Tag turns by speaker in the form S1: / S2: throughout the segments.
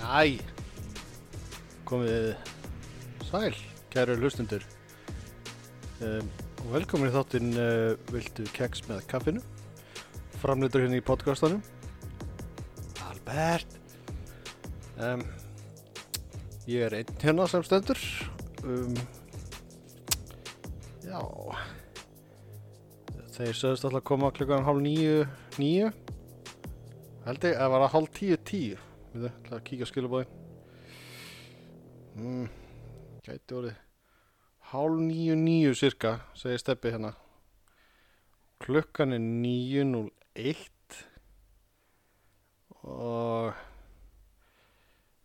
S1: Æ, komið sæl, kæru hlustundur. Um, og velkomin í þáttinn uh, Viltu keks með kaffinu? Framleitur hérna í podcastanum. Albert. Um, ég er einn hérna sem stendur. Um, já, þeir sögðust alltaf að koma klukkan hálf níu, níu. Held ég, það var að hálf tíu, tíu. Við þau, ætla að kíkja á skilabóðin. Mm, gæti orðið. Hálf níu níu cirka, segir Steppi hérna. Klukkan er 9.01 og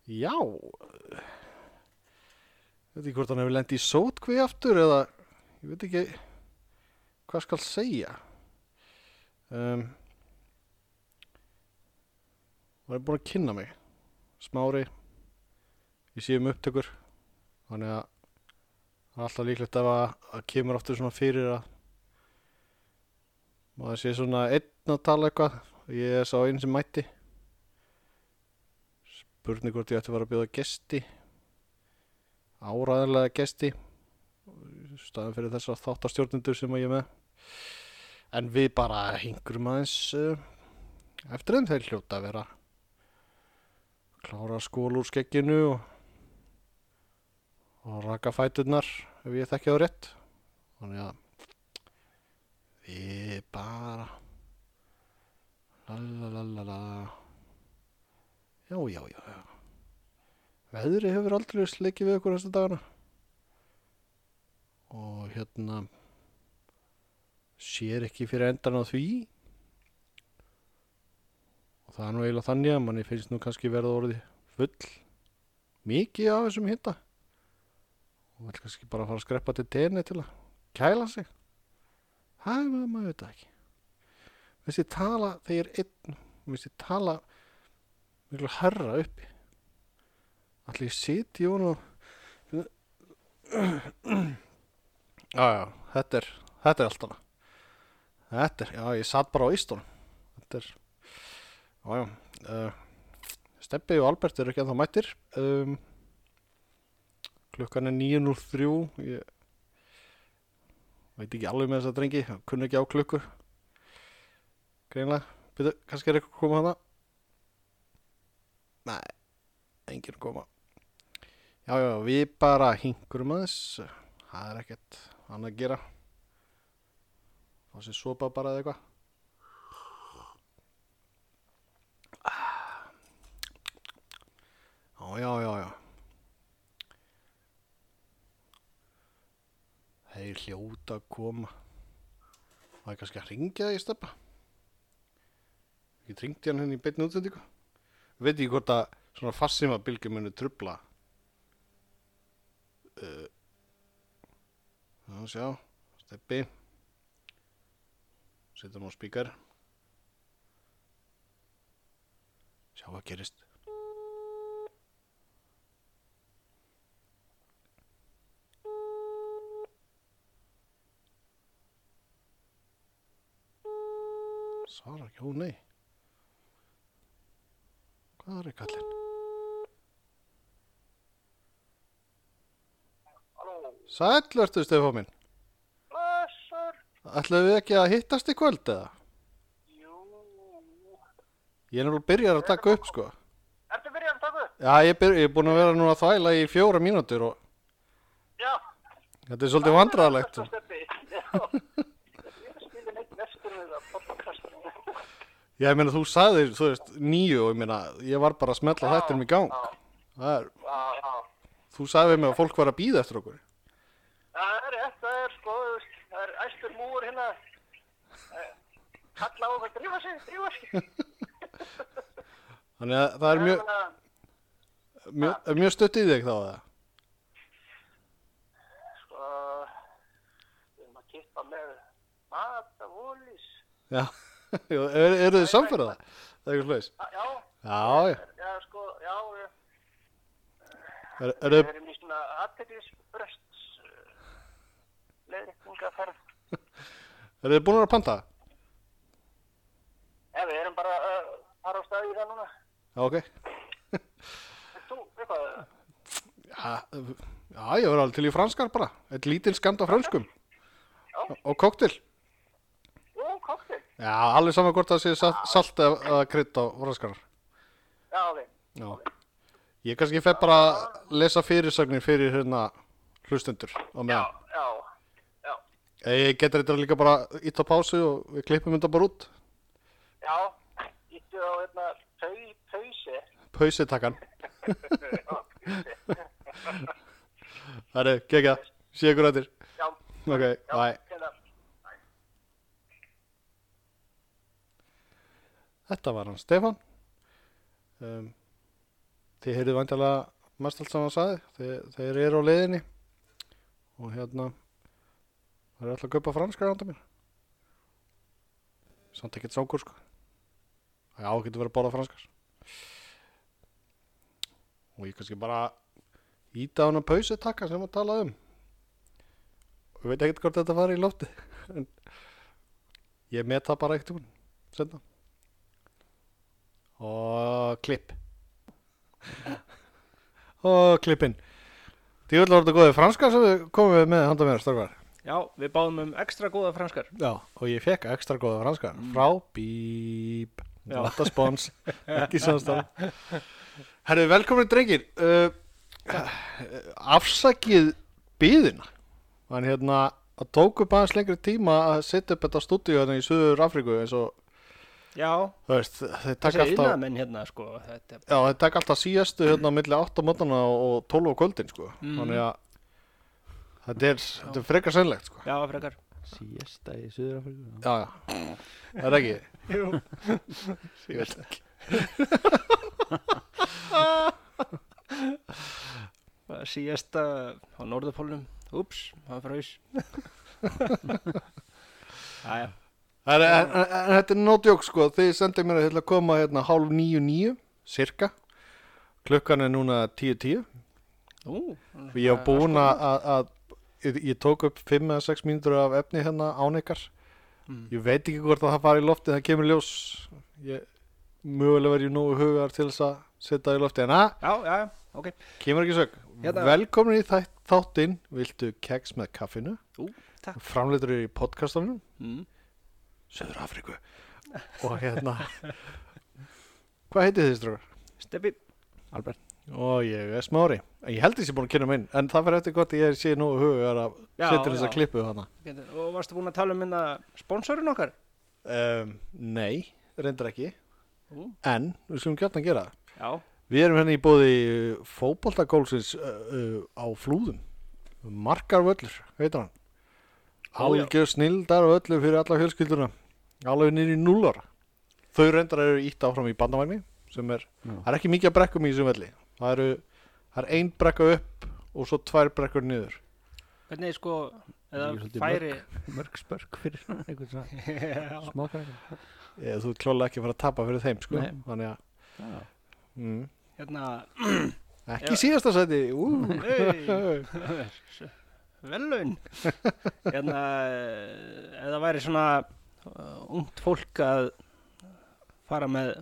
S1: já, ég veit ekki hvort hann hefur lendið í sótkvið aftur eða ég veit ekki hvað skal segja. Um, var búin að kynna mig smári í síðum upptökur þannig að það er alltaf líklegt ef að, að kemur aftur svona fyrir að maður sé svona einn að tala eitthvað ég er sá einn sem mætti spurning hvort ég ætti að fara að bjóða gesti áræðanlega gesti staðan fyrir þessar þáttastjórnendur sem að ég er með en við bara hingrum aðeins uh, eftir þeim þeir hljóta að vera klára skól úr skegginu og, og raka fæturnar ef ég þekki þá rétt þannig að við bara lalalala já, já, já, já veðri hefur aldrei sleikið við okkur þessa dagana og hérna sér ekki fyrir endan á því og það er nú eiginlega þannig að manni finnst nú kannski verða orðið full mikið af þessum hitta og vel kannski bara fara að skreppa til tenni til að kæla sig það er maður, maður veit það ekki þessi tala þegar einn þessi tala miklu herra uppi allir ég sitja í hún og já já þetta er þetta er allt hana þetta er, já ég satt bara á ístunum þetta er Jájá, uh, Steppi og Albert eru ekki að það mættir um, Klukkan er 9.03 Ég veit ekki alveg með þess að drengi Kunni ekki á klukkur Greinlega, byrju, kannski er eitthvað að koma hana Nei, enginn að koma Jájá, við bara hingurum aðeins Það er ekkert annað að gera Fá sér sopa bara eða eitthvað Já, já, já, já. Þeir hljóta að koma. Það er kannski að ringja það í steppa. Ég ringdi hann henni í beinni útsendingu. Ég veit ekki hvort að svona fassima bylgjum munu trubla. Uh, já, sjá, steppi. Settum á spíkar. Sjá hvað gerist. Svarar ekki, ó nei. Hvað er í kallinn?
S2: Halló,
S1: Sæll ertu, Stefán minn.
S2: blessur.
S1: Ætlaðu við ekki að hittast í kvöld eða?
S2: Jú.
S1: Ég er náttúrulega byrjar að taka upp sko.
S2: Ertu byrjað að taka upp?
S1: Já, ég, byr, ég er búin að vera núna að þvæla í fjóra mínútur og
S2: Já.
S1: þetta er svolítið vandræðalegt.
S2: Það er þetta steppi. Já. Ég skilði neitt mestur við það podcastinu.
S1: Ég meina, þú sagðir, þú veist, nýju og ég meina, ég var bara að smetla þetta um í gang. Það er,
S2: Já, já.
S1: þú sagði við mig að fólk var að býða eftir okkur.
S2: Það er rétt, það er sko, þú veist, það er æstur múur hérna. Eh, Kalla á það, drífa sig, drífa sig.
S1: Þannig að það er mjög,
S2: Þannig að,
S1: mjög, er mjög stutt í þig þá að það.
S2: Sko, við erum að kippa með mat af ólís.
S1: Já, eru er þið samferða það? Það er eitthvað slags.
S2: Ah, Já,
S1: Já, já.
S2: já, sko, já, við
S1: Er, er,
S2: Við
S1: er,
S2: erum í svona aðteglisbrösts leiðrikningaferð.
S1: er þið búin að panta?
S2: uh, Ef við erum bara að fara á staði í það núna.
S1: Já, ok.
S2: Vilt þú
S1: já, ég verður alveg til í franskar bara. Eitt lítinn skammt af franskum.
S2: Já.
S1: Og koktel.
S2: Jú, koktel.
S1: Já, alveg saman hvort það sé sa- salt eða eða krydd á franskarar.
S2: Já, ok.
S1: Já. Ég kannski fer bara að lesa fyrirsagnir fyrir hérna hlustendur á
S2: Já,
S1: meðan.
S2: já, já.
S1: Ég getur þetta líka bara ítt á pásu og við klippum þetta bara út.
S2: Já, íttu á hérna pau- pausi.
S1: Pausitakkan. Það er gegja. Sé ykkur að þér.
S2: Já,
S1: Ok,
S2: já,
S1: bye.
S2: hérna.
S1: Þetta var hann Stefán. Um, þið heyrðu vandalega mest allt sem hann sagði. Þið, þeir eru á leiðinni og hérna það er alltaf að kaupa franskar handa mér. Samt ekkert sákur sko. Það á getur verið að bóla franskar. Og ég kannski bara íta á hana pausu takka sem að tala um. Ég veit ekkert hvort þetta fari í lofti. en ég met það bara eitt um senda og klipp og klippin Djúvel var þetta góðið franska sem við komum við með handa mér strákar
S3: Já, við báðum um ekstra góða franskar.
S1: Já, og ég fekk ekstra góða franska frá bíp
S3: Mm. Já.
S1: Þetta spons, ekki samstæð Herru, velkomin drengir uh, Afsakið bíðina Þannig hérna að tók upp aðeins lengri tíma að setja upp þetta stúdíu hérna í Suður Afríku eins og,
S3: Já,
S1: þú veist, þeir
S3: þessi
S1: taka alltaf
S3: innamenn hérna, sko, þetta,
S1: Já, þetta tek alltaf síðastu hérna milli 8 mótana og 12 á kvöldin sko. þannig að þetta er, þetta er frekar sennlegt sko.
S3: já, frekar.
S4: Síesta í Suðurafriku
S1: Já, já, það er ekki
S3: Jú.
S1: Ég veit ekki
S3: Síðasta á Norðupólnum, ups, hann fröys. Jæja,
S1: Það er- En en- en þetta er nótjók sko, þið sendið mér að hérna koma hérna hálf níu níu, cirka klukkan er núna tíu tíu
S3: nú.
S1: ég hef búin
S3: sko-
S1: að, að, að ég- ég tók upp 5 eða 6 mínútur af efni hérna án ykkar
S3: Mm.
S1: ég veit ekki hvort að það fari í lofti það kemur í ljós ég, mögulega verið nógu hugar til þess að setja það í lofti en að
S3: Já, já, já, ok.
S1: Kemur ekki sög.
S3: Hérna.
S1: Velkomin í þætt, þáttinn, viltu keks með kaffinu?
S3: Ú, takk.
S1: Framleitur í podcastanum,
S3: Mm.
S1: Söður Afríku. Og hérna, hvað heitið þið strókar?
S3: Steppi,
S4: Albert
S1: Og ég er smári. Ég held ég sé búin að kynna minn, en það fyrir eftir hvort ég sé nú hugar að
S3: Já,
S1: setja þess að
S3: já.
S1: klippu hana.
S3: getur- og varstu búin að tala um minna sponsorinn okkar?
S1: Um, nei, reyndar ekki.
S3: Ú.
S1: En, við skulum gjarnan gera það.
S3: Já,
S1: Við erum hérna í bóði fótboltagólsins uh, uh, á flúðum. Markarvöllur, heitir hann.
S3: Ó, já.
S1: Algjör snildar völlur fyrir alla fjölskylduna. Alveg niður í núlar. Þau reyndar eru ítt áfram í bandamæmi sem er,
S4: Já.
S1: það er ekki mikið að brekkum í þessum velli. Það eru, það er ein brekka upp og svo tvær brekkur niður.
S3: hvernig sko, eða
S4: Ég er svolítið
S3: færi...
S4: Mörg spörk fyrir svona einhvern svona
S3: Já,
S4: smákrakka
S1: Eða þú ert klálega ekki að fara að tapa fyrir þeim, sko.
S4: Nei.
S1: Þannig að,
S4: Já,
S1: mm,
S3: hérna,
S1: ekki Já. síðasta sæti. Ú,
S3: hei, velun. Hérna, eða væri svona uh, ungt fólk að fara með,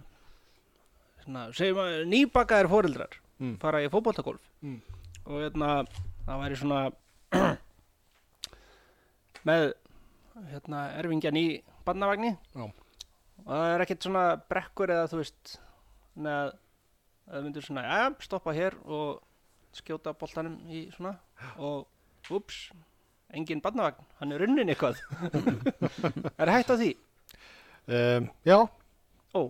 S3: svona, segjum að nýbakaðir fóreldrar
S1: Mm.
S3: fara í fótboltagolf
S1: Mm.
S3: og hérna, það væri svona með, hérna, erfingjan í barnavagni
S1: Já.
S3: og það er ekkert svona brekkur eða þú veist, neða, það myndir svona, já, stoppa hér og skjóta boltanum í svona og ups engin barnavagn, hann er runnin eitthvað er hægt á því
S1: Um, já,
S3: ó,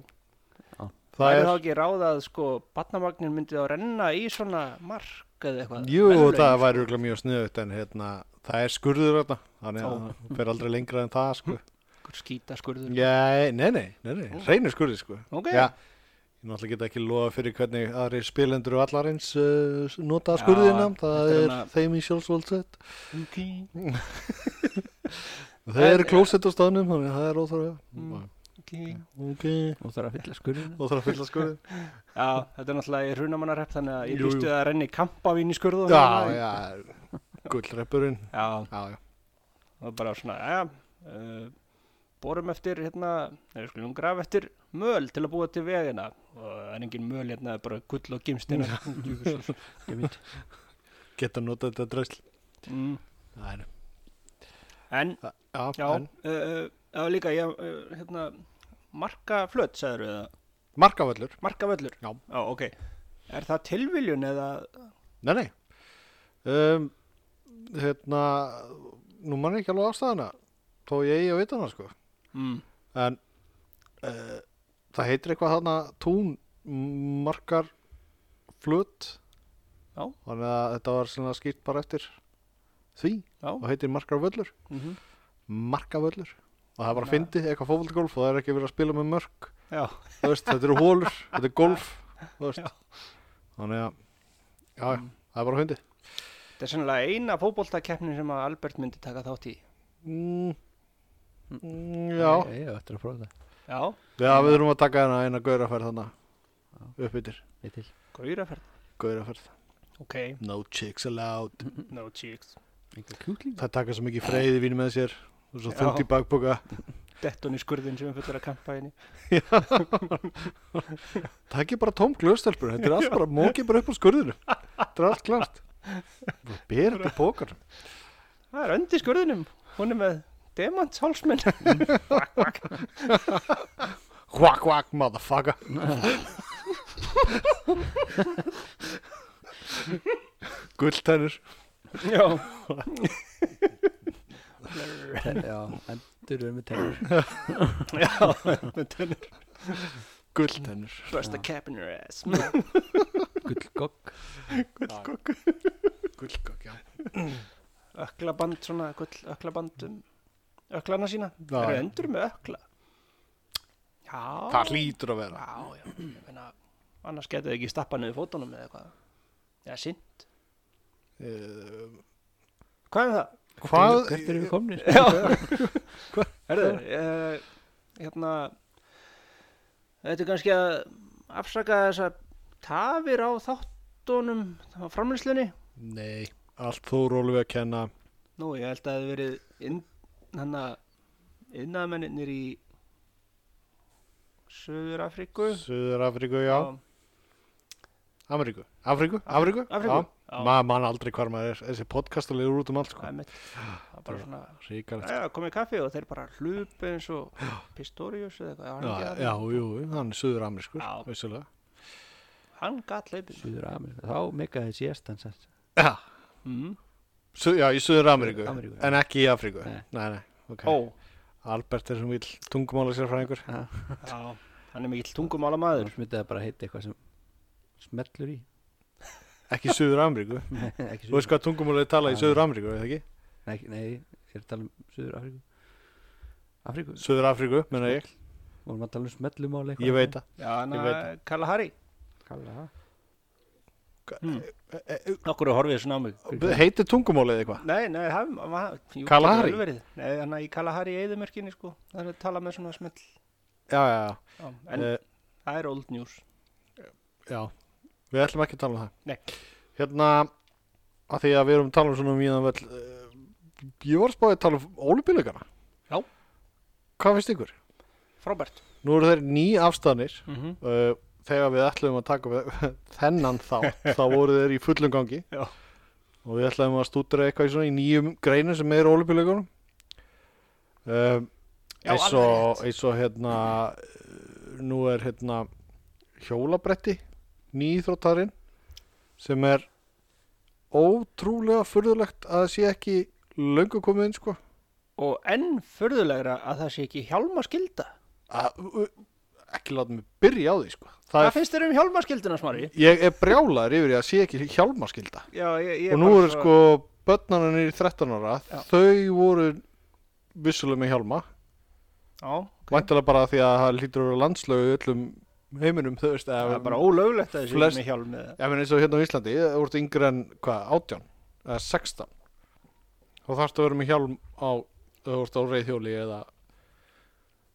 S3: það
S1: það
S3: er þá
S1: er,
S3: ekki ráð að sko barnavagnin myndi þá renna í svona mark eða eitthvað
S1: jú,
S3: Verðlaun,
S1: það
S3: sko.
S1: væri örugglega mjög sniðut en hérna, það er skurður þarna. Þannig að
S3: Ó.
S1: það fer aldrei lengra en það, sko.
S3: Einhver skítaskurður
S1: Já, nei, nei, nei, nei, reynir skurði sko
S3: Ok.
S1: Já, ég náttúrulega get ekki lofa fyrir hvernig aðri spilendur og allarins uh, nota skurðina,
S3: Já,
S1: það
S3: þetta er hérna-
S1: er
S3: hana-
S1: þeim í sjálfsvöldsett
S3: okay.
S1: Það
S3: En-
S1: eru klósett á staðnum, þannig að það er óþráða
S3: Mm. Okay.
S1: Ok,
S4: og þarf að fylla skurðinu
S1: óþráða fylla skurði
S3: já, þetta er náttúrulega í hrunamannarepp þannig að
S1: Jú,
S3: ég
S1: jú.
S3: býstu að renni kampavín í skurðu
S1: Já, já, gullreppurinn
S3: já,
S1: Já, já,
S3: og bara svona, já, uh, borum eftir hérna, eða skulum grafa eftir möl til að búa til vegina og það er engin möl hérna, það er bara gull og gimstina
S4: Ég veit
S1: geta notað þetta drösl
S3: mm.
S1: Nei, nei.
S3: En,
S1: Það- já,
S3: já,
S1: já.
S3: uh, uh, já líka, já, uh, hérna, marka flöt, sagður við það,
S1: markavöllur
S3: marka völlur.
S1: Já.
S3: Já, ok. Er það tilviljun eða,
S1: nei, nei. Um, hérna nú mann ekki alveg ástæðana þó ég eigi að vita hana sko
S3: mm,
S1: en uh, það heitir eitthvað þarna tún markar flut
S3: Já.
S1: þannig að þetta var svona skýrt bara eftir því
S3: já,
S1: og heitir markar völlur
S3: mm
S1: markavöllur og það er bara
S3: Þannig að-
S1: fyndið eitthvað fótboltagolf og það er ekki verið að spila með mörk
S3: já,
S1: Þú veist, þetta eru hólur, þetta er golf þú veist. þannig að já, já, það er bara fyndið
S3: þetta er sennilega eina fótboltakeppnin sem að Albert myndi taka þátt í.
S1: mm, mm, já,
S4: Ég ég á eftir að prófa það
S3: Já,
S1: já, við erum að taka hana eina gauraferð þannig upp yfir
S4: Ég til
S3: gauraferð.
S1: gauraferð,
S3: Ok,
S1: no chicks allowed
S3: no cheeks.
S4: Enga kjúkling
S1: það taka svo mikið freyði vín með sér og svo
S3: Já.
S1: þungt í bakboka
S3: Detton í skurðin sem er fullur að kampa henni.
S1: takk ég bara tóm glöðstelpur, þetta er allt bara mókið bara upp á skurðinu, þetta er allt klart bara ber þetta í bókar
S3: Það er öndi skurðinum, hún er með demant hálsmenn.
S1: quack quack motherfucker gulltennur
S3: já.
S4: Já, endur við með tennur
S3: já, þetta er
S1: gulltennur
S3: besta keppin er ass.
S4: Gullgogg
S1: gullgokk, já
S3: öklaband svona, gull öklaband um öklana sína
S1: Já.
S3: það eru endur með ökla já
S1: það hlýtur að vera
S3: já, já, ég meina annars getur þið ekki stappa niður fótunum eða eitthvað já, sint
S1: Eh,
S3: hvað er það?
S1: hvað
S4: Hvert erum við komnir?
S3: herðu, uh, hérna þetta er kannski að afsaka þess að tafir á þáttunum á framlýslunni
S1: nei, allt þú rólum við að kenna
S3: nú, ég held að það hefði verið inn, hann að innamennir í Suður Afríku
S1: Suður Afríku, já Ameríku, Afríku, Afríku
S3: Afríku, já.
S1: maður mann aldrei hvar maður er þessi podcast legur út um allt
S3: Það
S1: sko
S3: er mitt. Það er bara svona,
S1: ríkar
S3: já, komið kaffi og þeir bara hlupu eins og Pistorius eða eitthvað. Hann,
S1: já,
S3: gat-
S1: já, jú, hann er Suður Amerískur
S3: Já.
S1: vissulega
S3: hann gat hlaupin.
S4: Suður Ameríku Þá meikaði síðast hans að
S1: já,
S3: Mm.
S1: Mhm. Su já, í Suður Ameríku,
S4: Ameríku, já.
S1: en ekki í Afríku
S4: Nei.
S1: nei, nei, ok
S3: Ó,
S1: Albert er sem vill tungumála sér frá einhver
S3: já, hann er mikill tungumála maður.
S4: Annars myndi það bara heita eitthvað sem smellur í
S1: ekki Suður Ameríku
S4: Nei, ekki
S1: þú veist hvað tungumála er talað í
S4: Já.
S1: Suður Ameríku, eða ekki?
S4: Nei, ekki- nei, ég er að tala um Suður Afríku Afríku,
S1: Suður Ameríku, menna ég
S4: vorum að tala um smellumáli
S1: ég veit það
S3: Já, hann
S1: Ég veit
S3: að Kalahari.
S4: Kalla,
S3: Okkur er horfið svona á mig.
S1: heitir tungumála eða eitthvað?
S3: Nei, nei, hann, hann, jú,
S1: Kalahari?
S3: getur vel verið. Nei, hann að í Kalahari í eðumörkinni, sko. Það er að tala með svona smell.
S1: já, já, já
S3: Já, en
S1: Eh,
S3: það er old news.
S1: Já, við ætlum ekki að tala um það
S3: Nei.
S1: Hérna, að því að við erum að tala um svona mjög vel Ég var spáðið að tala um ólipíleikana
S3: Já.
S1: Hvað finnst ykkur?
S3: Frábært.
S1: Nú eru þeir ný afstæðanir
S3: Mm -hmm.
S1: uh, Þegar við ætlum að taka við, þennan þátt Þá voru þeir í fullum gangi
S3: Já.
S1: Og við ætlum að stúdra eitthvað í svona í nýjum greinu sem er ólipíleikunum um,
S3: Já,
S1: eins
S3: alveg
S1: og, eins og hérna eh, nú er hérna hjólabretti nýþróttarinn sem er ótrúlega furðulegt að það sé ekki löngu komið inn sko
S3: Og enn furðulegra að það sé ekki hjálmaskylda.
S1: að, Ah, u- ekki láta mig byrja á því sko það
S3: Hvað
S1: er,
S3: finnst þér um hjálmarskylduna, Smári?
S1: ég er brjálaður yfir því að sé ekki hjálmaskylda
S3: Já, ég, ég
S1: og nú eru sko börnarnir í 13 ára
S3: Já.
S1: þau voru vissulega með hjálma
S3: Já, ok.
S1: væntalega bara því að það lítur að vera landslögu í öllum heiminum þú veist
S3: Það er bara ólöglegt að þessi
S1: flest-
S3: flest... með hjálm eða.
S1: Já, menn eins og hérna á Íslandi, þú ert yngri en hvað, 18 eða 16 þá þarfst að vera með hjálm á þú ert á reyðhjóli eða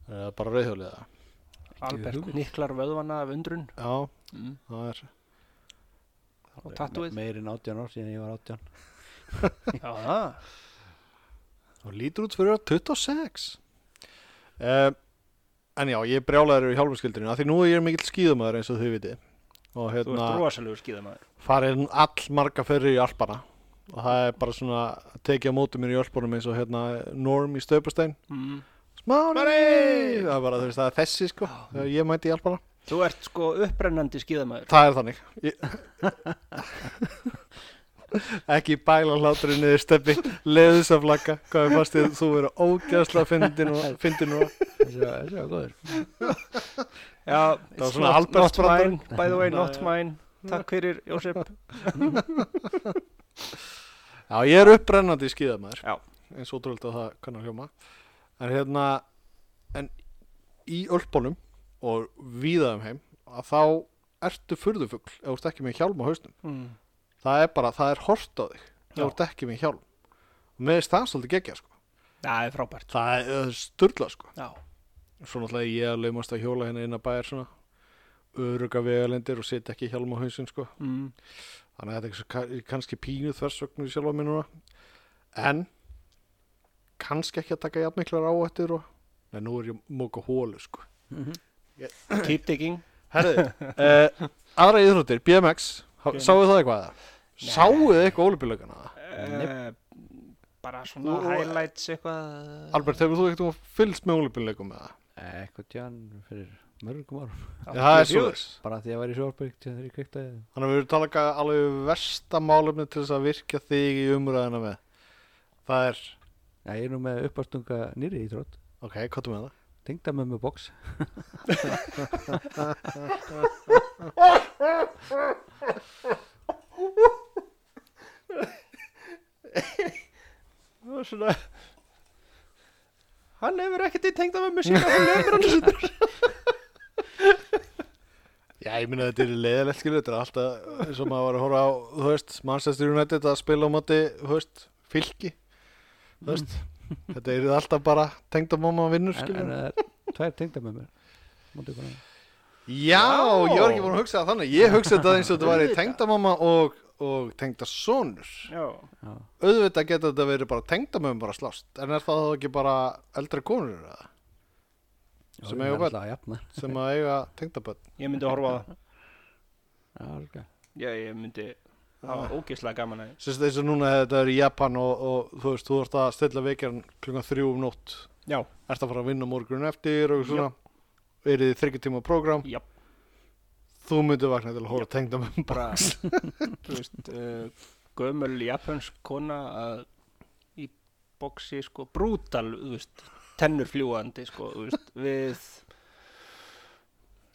S1: eða bara reyðhjóli eða
S3: Albert
S4: hugmynd.
S3: niklar vöðvana af undrun
S1: Já,
S3: mm.
S1: það er
S3: og tattúið.
S4: Meir en 18 ár síðan ég var 18
S3: Já, það.
S1: og lítur út fyrir að 26 um, En já, ég brjálæður í hjálmaskildinu af því nú er ég mikill skíðumæður eins og þau viti og
S3: Þú ert
S1: hérna
S3: rosalegu skíðamæður.
S1: farin all marga ferri í Alpana og það er bara svona að tekið á móti mér í ölpunum eins og hérna Norm í Stöpustein
S3: mm.
S1: Smári! Það er bara þú veist það er þessi sko þegar ég mæti í alpana
S3: Þú ert sko upprennandi skíðamæður
S1: Það er þannig ég... Ekki bæla hláturinn niður steppi leiðu þess að flagga hvað er fastið þú verður ógæðslega fyndin og fyndin og
S4: Þessi var þessi var góður
S3: Já,
S1: var
S3: it's
S1: svona
S3: not- not
S1: Albertsbrandarinn.
S3: mine, By the way,
S1: Já,
S3: not
S1: já.
S3: mine Takk fyrir, Jósef
S1: Já, ég er upprennandi í skíðamæður
S3: Já.
S1: eins og trúlega það kann að hljóma en hérna en í ölpunum og víðaðum heim að þá ertu furðufugl ef þú ert ekki með hjálm á hausnum
S3: mm.
S1: það er bara, það er hort á þig ef
S3: Já.
S1: þú ert ekki með hjálm og með þess það svolítið gegja sko
S3: Það er frábært
S1: það er sturla sko
S3: Já,
S1: svo náttúrulega ég að laumast að hjóla hérna inn að bæjar svona öruga vegalendir og setja ekki hjálm á hausinn sko
S3: mm.
S1: þannig að þetta er svo- kannski pínu þversögnu í sjálfa mér núna en kannski ekki að taka jafn miklar áættir og en nú er ég móka hólu sko
S3: keep digging
S1: herðu, uh, aðra íþróttir BMX, okay.
S3: BMX.
S1: sáu það eitthvað eða? sáu þið eitthvað ólipilögana eða?
S3: uh, Bara svona
S1: Þú-
S3: highlights eitthvað eh,
S1: Albert, hefur þú eitthvað fylgst með ólipilögum eða?
S4: Eitthvað tján fyrir mörgum árum
S1: það er svo
S3: 84.
S1: þess
S4: Bara því að ég var í sjálfbyggt þegar ég kveiktaði það.
S1: Þannig að við erum talað um alveg versta málefni til þess að virkja þig í umræðina með. Það er,
S4: Já, ég er nú með uppastunga nýri í trótt
S1: ok, hvað þú með það?
S4: Tengda með með box
S3: Það var svona Hann hefur ekkert í tengda með musík Hann hefur hann svona
S1: Já, ég minna þetta er leiðilegt skilur, þetta er alltaf eins og maður var að horfa á, þú veist, Manchester United að spila á móti, þú veist, fylki, þú veist, þetta er alltaf bara tengd að mamma vinnur
S4: Mm. En,
S1: skilur.
S4: en það er tvær tengda með mér Mátti bara
S1: Já, ég var ekki búin að hugsa það þannig, ég hugsa þetta eins og þetta væri tengdamamma og, og tengdasonur.
S3: Já,
S4: Já,
S1: Auðvitað getur þetta verið bara tengdamöfum bara slást, en er það þá ekki bara eldri konur eða?
S4: Já,
S1: Sem
S4: ég
S1: eiga
S4: var
S1: börn.
S4: alltaf að jafna
S1: sem að eiga tengdaböld
S3: ég myndi horfa á það
S4: Já, alveg
S3: Já, ég myndi Það var ógeðslega gaman að
S1: Sérst eins og núna ef þetta er í Japan og, og þú veist, þú ert að stilla veikjan klunga þrjú um nótt
S3: Já,
S1: Ert að fara að vinna morgun eftir og svona Verið í þryggja tíma prógram
S3: já,
S1: Þú myndir vakna til að hóra tengda með bara
S3: bara Þú veist uh, Gömul japansk kona að Í boxi sko Brútal, þú veist Tennur fljúandi sko, þú veist Við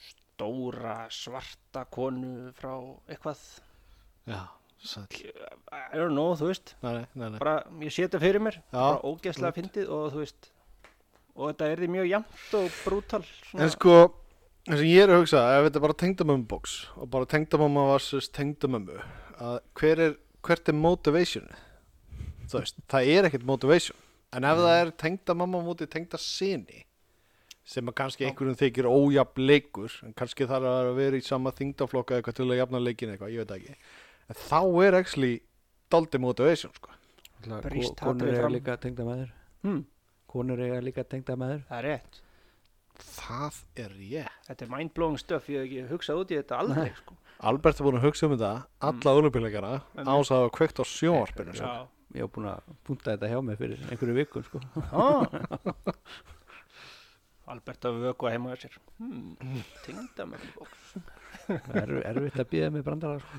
S3: Stóra svarta konu Frá eitthvað
S1: Já, sæll
S3: I don't know, þú veist
S1: Nei, nei, nei, nei.
S3: bara, ég sé þetta fyrir mér
S1: Já,
S3: bara ógeðslega fyndið og þú veist og þetta er því mjög jæmt og brútal svona,
S1: En sko, það sem ég er að hugsa Ef þetta er bara tengdamömmu box Og bara tengdamömmu versus tengdamömmu Að hver er, hvert er motivation Þú veist, það er ekkert motivation En ef það er tengdamamma mútið tengdasini sem að kannski einhverjum þykir ójafn leikur en kannski þarf að vera í sama þingdaflokka eitthvað til að jafna leikin eitthvað, ég veit það ekki en þá er actually daldi motivation sko.
S4: Alltaf
S3: Brýst
S4: ko- Konur
S3: hatrið
S4: eiga
S3: fram.
S4: líka tengda með þér
S3: hmm,
S4: Konur eiga líka tengda með þér
S3: það er rétt
S1: það er ég
S3: þetta er mindblowing stuff, ég hef ekki hugsað út í þetta aldrei sko.
S1: Albert er búin að hugsa um þetta alla mm. olumpileikana ás að hafa kveikt á sjónvarpinu sko.
S3: Já.
S4: Ég var búin að punta þetta hjá mig fyrir einhverju vikum sko.
S3: Ah. Albert að vöku heima að sér hmm, tengda með bóks
S4: er, Erfitt að býða með brandara sko.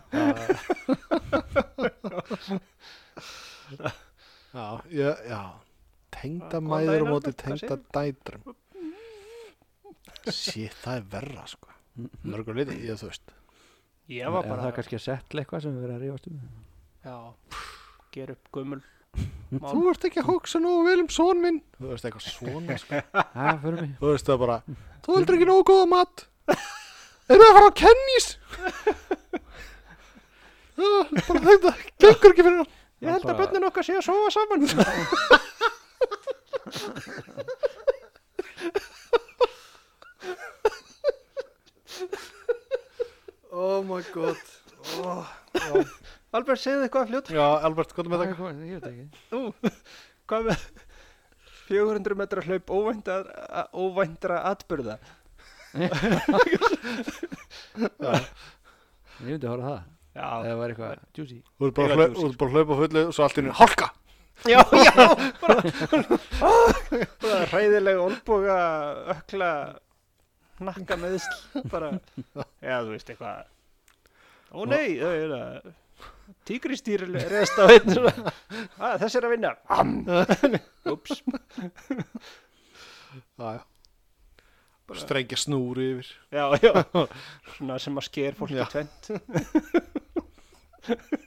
S1: já, já, já. tengdamæður á
S3: Góðan
S1: móti
S3: daginn, Albert, hvað
S1: tengdadætrum shit, það er verra sko.
S3: Mhm.
S1: mörgur liti, ég þú veist
S3: ég var
S4: Eða það
S3: bara
S4: er kannski að setla eitthvað sem við verðum að rífast um
S3: já, ger upp gömul
S1: þú
S3: mál
S1: ert ekki að hugsa nú vel um són minn þú veist eitthvað svona sko.
S4: Það fyrir mig
S1: þú veist það bara þú heldur ekki nógu góða mat eru það að fara á kennís Ah, bara þetta gengur ekki fyrir hann
S3: ég held að börnin okkar sé að sofa saman
S1: oh my god oh, já.
S3: Albert segði eitthvað fljótt
S1: já, Albert, hvað er með það?
S4: Hvað- Ég veit ekki
S3: Ú, hvað með 400 metra hlaup óvændar, óvændra atbyrða
S4: Ég myndi að horfa á það
S3: Já,
S4: eða var eitthvað juicy
S1: Þú ert bara,
S3: Eiga
S1: að hlau-
S3: djús.
S1: þú ert bara að hlaupa á fullu og svo allt í henni hálka.
S3: já, já bara, bara hræðileg olboga ökla nakka meðsl bara, já, þú veist eitthvað ó nei, þau eru að tígristýr reðst á einn svona, að, þessi er að vinna Am. ups,
S1: Já, já. Strengja snúri yfir.
S3: já, já svona sem að sker fólk
S1: Já.
S3: í tvent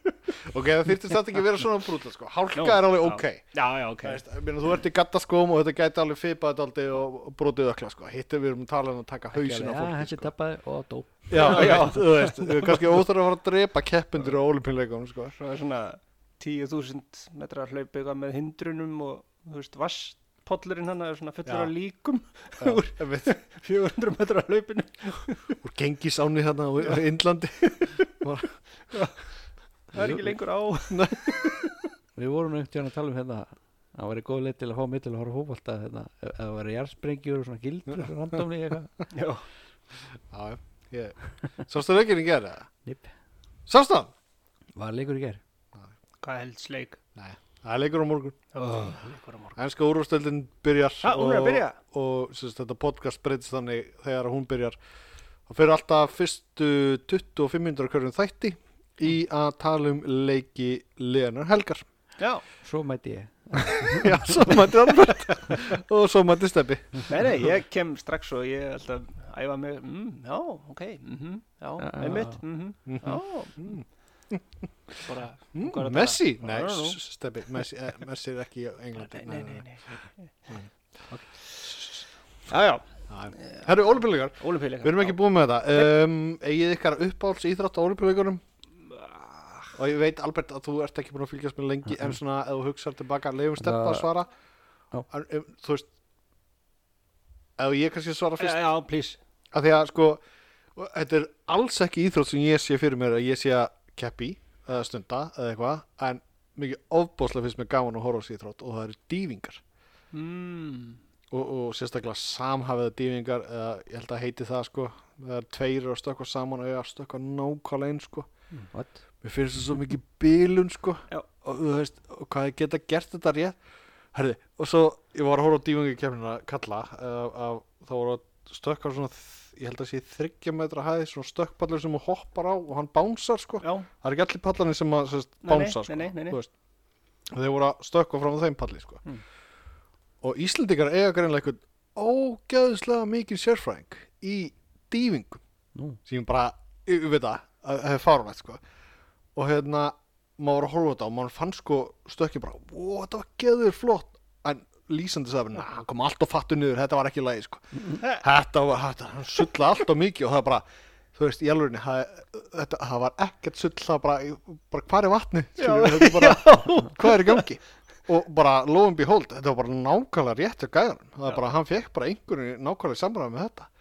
S1: Ok, það þyrfti þetta ekki að vera svona brútal, sko. Hálka
S3: Nú,
S1: er alveg
S3: já.
S1: ok.
S3: já, já, ok
S1: Það veist, ég meina, þú ert í gattaskóm og þetta gæti alveg fipað þetta aldrei og og brotið ökla, sko. Hittir við erum að tala um að taka hausin á
S4: ja,
S1: fólki,
S4: þessi
S1: sko.
S4: tappaði og dó
S1: Já, já, þú veist, þú veist, kannski óþarf að fara að drepa keppindur á olimpíuleikunum, sko.
S3: svo er svona 10.000 metra hlaup eitthvað með hindrunum og þú veist vasspollurinn hann er svona
S1: Já.
S3: fullur af líkum
S1: Já, ég veit,
S3: 400 metra hlaupinu
S1: úr gengisáni þarna á á Indlandi.
S3: það er ekki lengur á
S4: Við vorum nú einhvern tíðan að tala um hérna það væri góð leið til að fá mig til að horfa á fótbolta hérna, ef ef það væri jarðsprengjur og svona gildur randomni eitthvað
S3: já,
S1: Já, já, ég, sástu leikinn í gerða?
S4: Nip.
S1: Sástu hann?
S4: Var leikur í ger
S3: hvað helst leik
S1: Nei, það er leikur á morgun.
S3: oh. leikur á morgun
S1: Ennska úrústöldin byrjar
S3: Ha, hún er að byrja?
S1: og, og sérst, þetta podcast breytist þannig þegar hún byrjar og fyrir alltaf fyrstu 25 minnur hverjum þætti í að tala um leiki Leonar Helgar
S3: já,
S4: Svo mæti ég
S1: Já, svo mætti Albert og svo mætti Steppi
S3: nei nei, ég kem strax og ég held að æfa mig mm, já, ok, mhm, já,
S4: Já.
S3: einmitt mhm, já mm. bara, hvað er
S1: mm,
S3: að
S1: Messi?
S3: tala?
S1: Nei,
S3: I don't know.
S1: s- Steppi, Messi, eh, Messi er ekki í Englandi
S3: nei, nei, nei, nei. já, já,
S1: nei. Herru, Olipillegar,
S3: olimpíuleika
S1: við erum ekki búin með þetta um, Egið ykkar uppáhalds íþrótt á Olipillegunum og ég veit Albert að þú ert ekki búin að fylgjast með lengi en svona ef þú hugsar tilbaka leifum steppa að
S4: Það-
S1: svara
S4: Já.
S1: en, um, þú veist ef ég kannski svara
S3: já,
S1: fyrst
S3: já, please
S1: af því að sko og þetta er alls ekki íþrótt sem ég sé fyrir mér að ég sé að keppi eða stunda eða eitthvað en mikið ofbóðslega finnst mér gaman að horfa á þessi íþrótt og það eru dývingar
S3: mm.
S1: og, og sérstaklega samhafiða dývingar eða ég held að heiti það sko það er tveir eru að stökkva saman og ég að stökkva nákvæmlega eins sko
S3: Mm.
S4: What?
S1: mér finnst það svo mikið bílun sko
S3: Já.
S1: og þú veist, og hvað ég geta gert þetta rétt herði, og svo ég var að horfa á dýfungi kemnina kalla uh, af, þá voru að stökka á svona þ- ég held að sé þryggja metra hæði svona stökkpallur sem hún hoppar á og hann bánsar sko
S3: já,
S1: það er ekki allir pallarnir sem að sérst,
S3: Nei, nei,
S1: bánsa sko,
S3: nei, nei, nei, nei.
S1: þú veist. og þeir voru að stökkva fram á þeim palli sko.
S3: Mm.
S1: og Íslendingar eiga greinlega eitthvað ógæðislega mikið sérfræðing í dývingum
S4: Nú.
S1: sem ég bara, ég veit það að það er fárvægt sko. og hérna, maður var að horfa á þetta og maður fann sko stökki bara, ó, þetta var geður flott en lýsandi sagði, bara, na, kom allt og fattu niður þetta var ekki lægi sko. þetta var, þetta, hann sulla allt og mikið og það bara þú veist, í alvörinni, það, þetta, það var ekkert sull, það bara, bara hvað er vatni, skilur, þetta er bara, hvað er í gangi? Og bara, lo and behold, þetta var bara nákvæmlega rétt hjá gæðanum, það er bara, hann fekk bara einhverju nákvæmlega samræði með þetta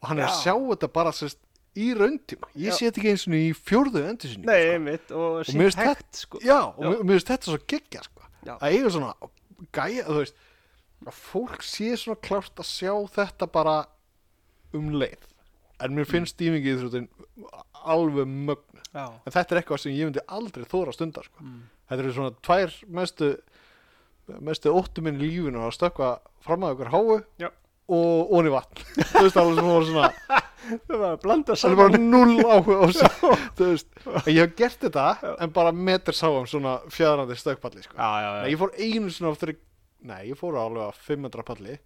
S1: og hann er að
S3: Já.
S1: sjá þetta bara sérst, í raundtíma,
S3: Já.
S1: ég sé þetta ekki eins og í fjórðu sko. endursynningu,
S3: nei, einmitt og
S1: og mér
S3: sínt
S1: finnst þetta,
S3: hægt sko
S1: já, og
S3: Já.
S1: mér- mér finnst þetta svo geggja, sko,
S3: Já.
S1: að eiga svona gæja, þú veist, að fólk sé svona klárt að sjá þetta bara um leið en mér finnst stímingi íþróttin alveg mögnu,
S3: Mm. já, Mm.
S1: en þetta er eitthvað sem ég myndi aldrei þóra stundar, sko þetta eru svona tvær mestu mestu óttu minn í lífinu að stökkva fram að ykkur háu
S3: Já.
S1: og onni vatn, þú veist, alveg sem voru svona
S3: það var að
S1: Það
S3: blanda
S1: er
S3: saman
S1: bara null áhuga á þessu, þú veist. En Ég hef gert þetta, en bara metr sáum svona fjadrandi stökkpalli, sko.
S3: já, já,
S1: Nei, ég fór einu svona á þrygg, nei, ég fór á alveg á 500 palli,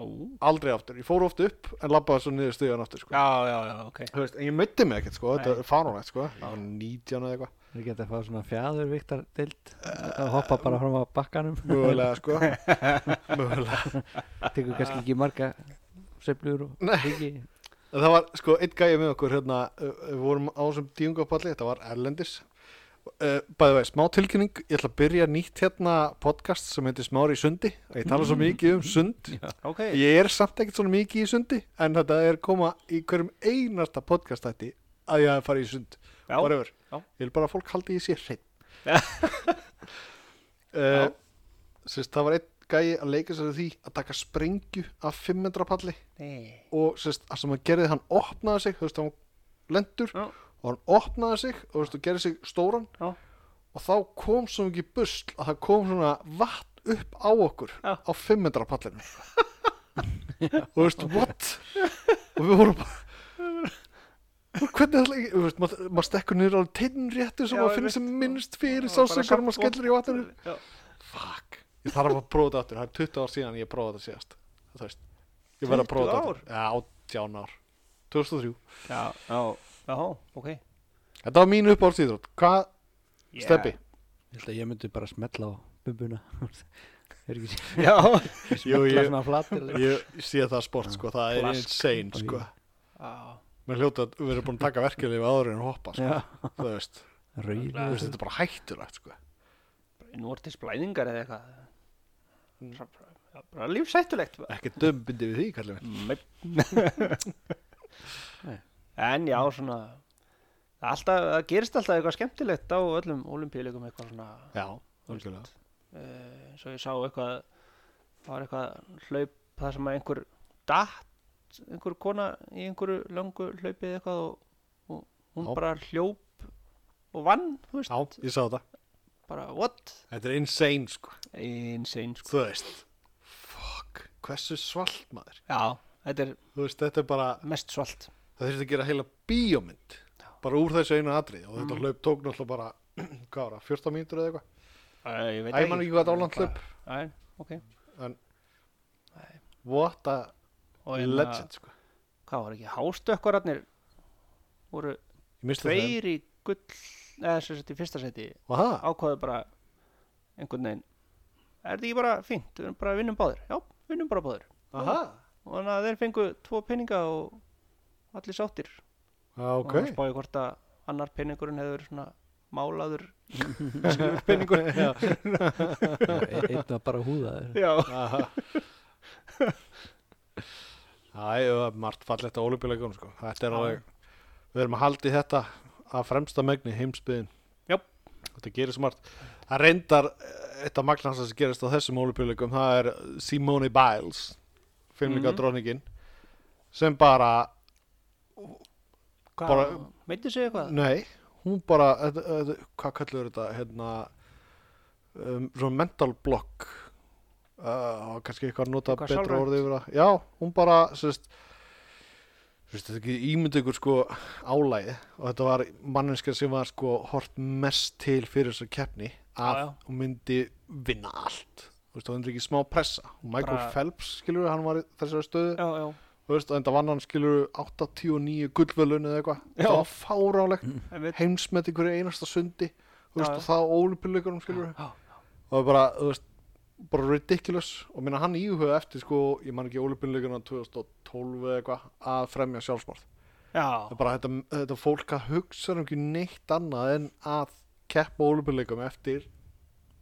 S3: Nú.
S1: aldrei aftur. Ég fór oft upp, en labbaði svo niður stíðan aftur, sko.
S3: já, já, já, ok
S1: Þú veist, en ég meiti mig ekkert, sko,
S3: Nei.
S1: þetta er fáránlegt, sko. Ég var 19 eða eitthvað,
S4: Við getum að fá svona fjæðurviktar dild
S3: Ah.
S4: að hoppa bara fram á bakkanum
S1: mögulega, sko. mögulega.
S4: tekur kannski ekki marga sveiflur og
S1: Nei.
S4: hringi.
S1: En það var sko einn gæja með okkur hérna, uh, við vorum á þessum díungapalli, þetta var Erlendis. Uh, Bæði veginn, smá tilkynning, ég ætla að byrja nýtt hérna podcast sem heitir Smári í sundi. Ég tala svo mikið um sund.
S3: ok,
S1: Ég er samt ekkert svona mikið í sundi, en þetta er koma í hverjum einasta podcast þætti að ég hafi farið í sund.
S3: já,
S1: Whatever.
S3: já.
S1: Ég vil bara að fólk haldi í sér hreinn.
S3: Já.
S1: uh, sérst, það var einn gæji að leika sér að því að taka sprengju af 500 palli
S3: Nei.
S1: og sérst, það sem hann gerði hann opnaði sig, þú veist, hann lendur
S3: Já.
S1: og hann opnaði sig og veistu, gerði sig stóran
S3: Já.
S1: og þá kom svo mikið busl að það kom svona vatn upp á okkur
S3: Já.
S1: á 500 pallinu og þú veist, what? og við vorum bara hvernig ætla ég, þú veist, maður mað stekkur niður alveg tinnréttu sem
S3: Já,
S1: maður
S3: einmitt.
S1: finnir sem minnst fyrir
S3: Og bara
S1: sásingar maður
S3: samt-
S1: skellir í vatninu
S3: Já.
S1: fuck, ég þarf að prófa þetta aftur það er 20 ár síðan ég prófaði þetta síðast þú veist, ég verð að prófa þetta
S3: 20
S1: aftur. já, 18 ár, 2003
S3: Já, já, já, ok
S1: þetta var mín uppáhaldsíðrótt, hvað,
S3: Yeah.
S1: Steppi?
S4: Ég held að ég myndi bara smetla á bumbuna Er ekki sér
S3: Já,
S1: Jú,
S4: Smetla
S1: ég-
S4: svona flatir sko.
S1: ég sé það sport sko, það er
S3: Plask.
S1: insane sko
S3: já,
S1: Mér hljóta að við erum búin að taka verkeflið áður en hoppa sko,
S4: Já,
S1: þú veist,
S4: rauð
S1: þú veist þetta er bara hættulegt sko
S3: núrtis blæðingar eða eitthvað Bara- bara- bara lífsættulegt bara.
S1: ekki dömbindi við því, kallum við
S4: Nei.
S3: en já, svona það er alltaf, það gerist alltaf eitthvað skemmtilegt á öllum olimpíuleikum eitthvað svona
S1: Já,
S3: þú veist,
S1: algjörlega.
S3: eh, eins og ég sá eitthvað það var eitthvað hlaup það sem að einhver datt einhver kona í einhverju löngu hlaupið eitthvað og, og hún
S1: Já.
S3: bara hljóp og vann, þú veist,
S1: Já, ég sá þetta
S3: bara what
S1: Þetta er insane sko,
S3: insane sko,
S1: þú veist Fuck, hversu svalt maður
S3: já, þetta er
S1: Þú veist, þetta er bara,
S3: mest svalt
S1: það þurfti að gera heila bíómynd bara úr þessu einu atrið og þetta hlaup tók náttúrulega bara, hvað var það, 14 mínútur eða eitthvað
S3: Æ, ég veit
S1: Æ, mann ekki hvað þetta álant
S3: Bara-
S1: hlaup
S3: Æ, ok
S1: What a
S3: og hérna,
S1: legend sko
S3: hvað var ekki, hástökkararnir voru
S1: Ég misti þeim.
S3: tveir í gull eða sem sagt í fyrsta seti
S1: Aha,
S3: ákvaðu bara einhvern veginn er þetta ekki bara fínt, við erum bara vinnum báðir já, vinnum bara báðir
S1: aha
S3: og þannig að þeir fengu tvo peninga og allir sáttir
S1: Já,
S3: og það
S1: Ah, ok
S3: spáði hvort að annar peningurinn hefur svona málaður skrifur peningur já,
S4: Einn var bara húða
S3: já,
S1: Aha. Það er uh, margt fallegt á olubíleikunum sko. Þetta er
S3: Já.
S1: alveg Við erum að haldi þetta að fremsta megni heimsbyðin
S3: Jöp.
S1: Þetta gerir svo margt Það reyndar eh, eitt af magnasta sem gerist á þessum olubíleikum það er Simone Biles filmleika
S3: Mhm.
S1: dronningin sem bara,
S3: hvað,
S1: Bara-
S3: meittu sig eitthvað
S1: nei hún bara, þetta, þetta, hvað kallur þetta hérna um, svona mental block uh, og kannski eitthvað að nota
S3: Eitthvað
S1: betra
S3: sálrænt.
S1: orðið yfir það já, hún bara sérst, sérst, þetta ekki ímyndu ykkur sko álæði og þetta var manninska sem var sko hort mest til fyrir þessar keppni að
S3: Já, já.
S1: hún myndi vinna allt þú veist, hún er ekki smá pressa og Michael
S3: Bara-
S1: Phelps skilur hann var í þessari stöðu
S3: já, já,
S1: þú veist, og enda vann hann skilur 89 gullvölun eða eitthvað
S3: Já.
S1: það var fáránlegt
S3: einmitt
S1: heimsmet í hverju einasta sundi þú veist,
S3: Já,
S1: og það ólimpíuleikunum skilur
S3: já,
S1: og það er bara, þú veist, bara ridiculous og minna hann íhuga eftir sko ég man ekki ólimpíuleikunum 2012 eða eitthvað að fremja sjálfsmorð það
S3: já,
S1: er bara þetta, þetta fólk að hugsa um ekki neitt annað en að keppa ólimpíuleikum eftir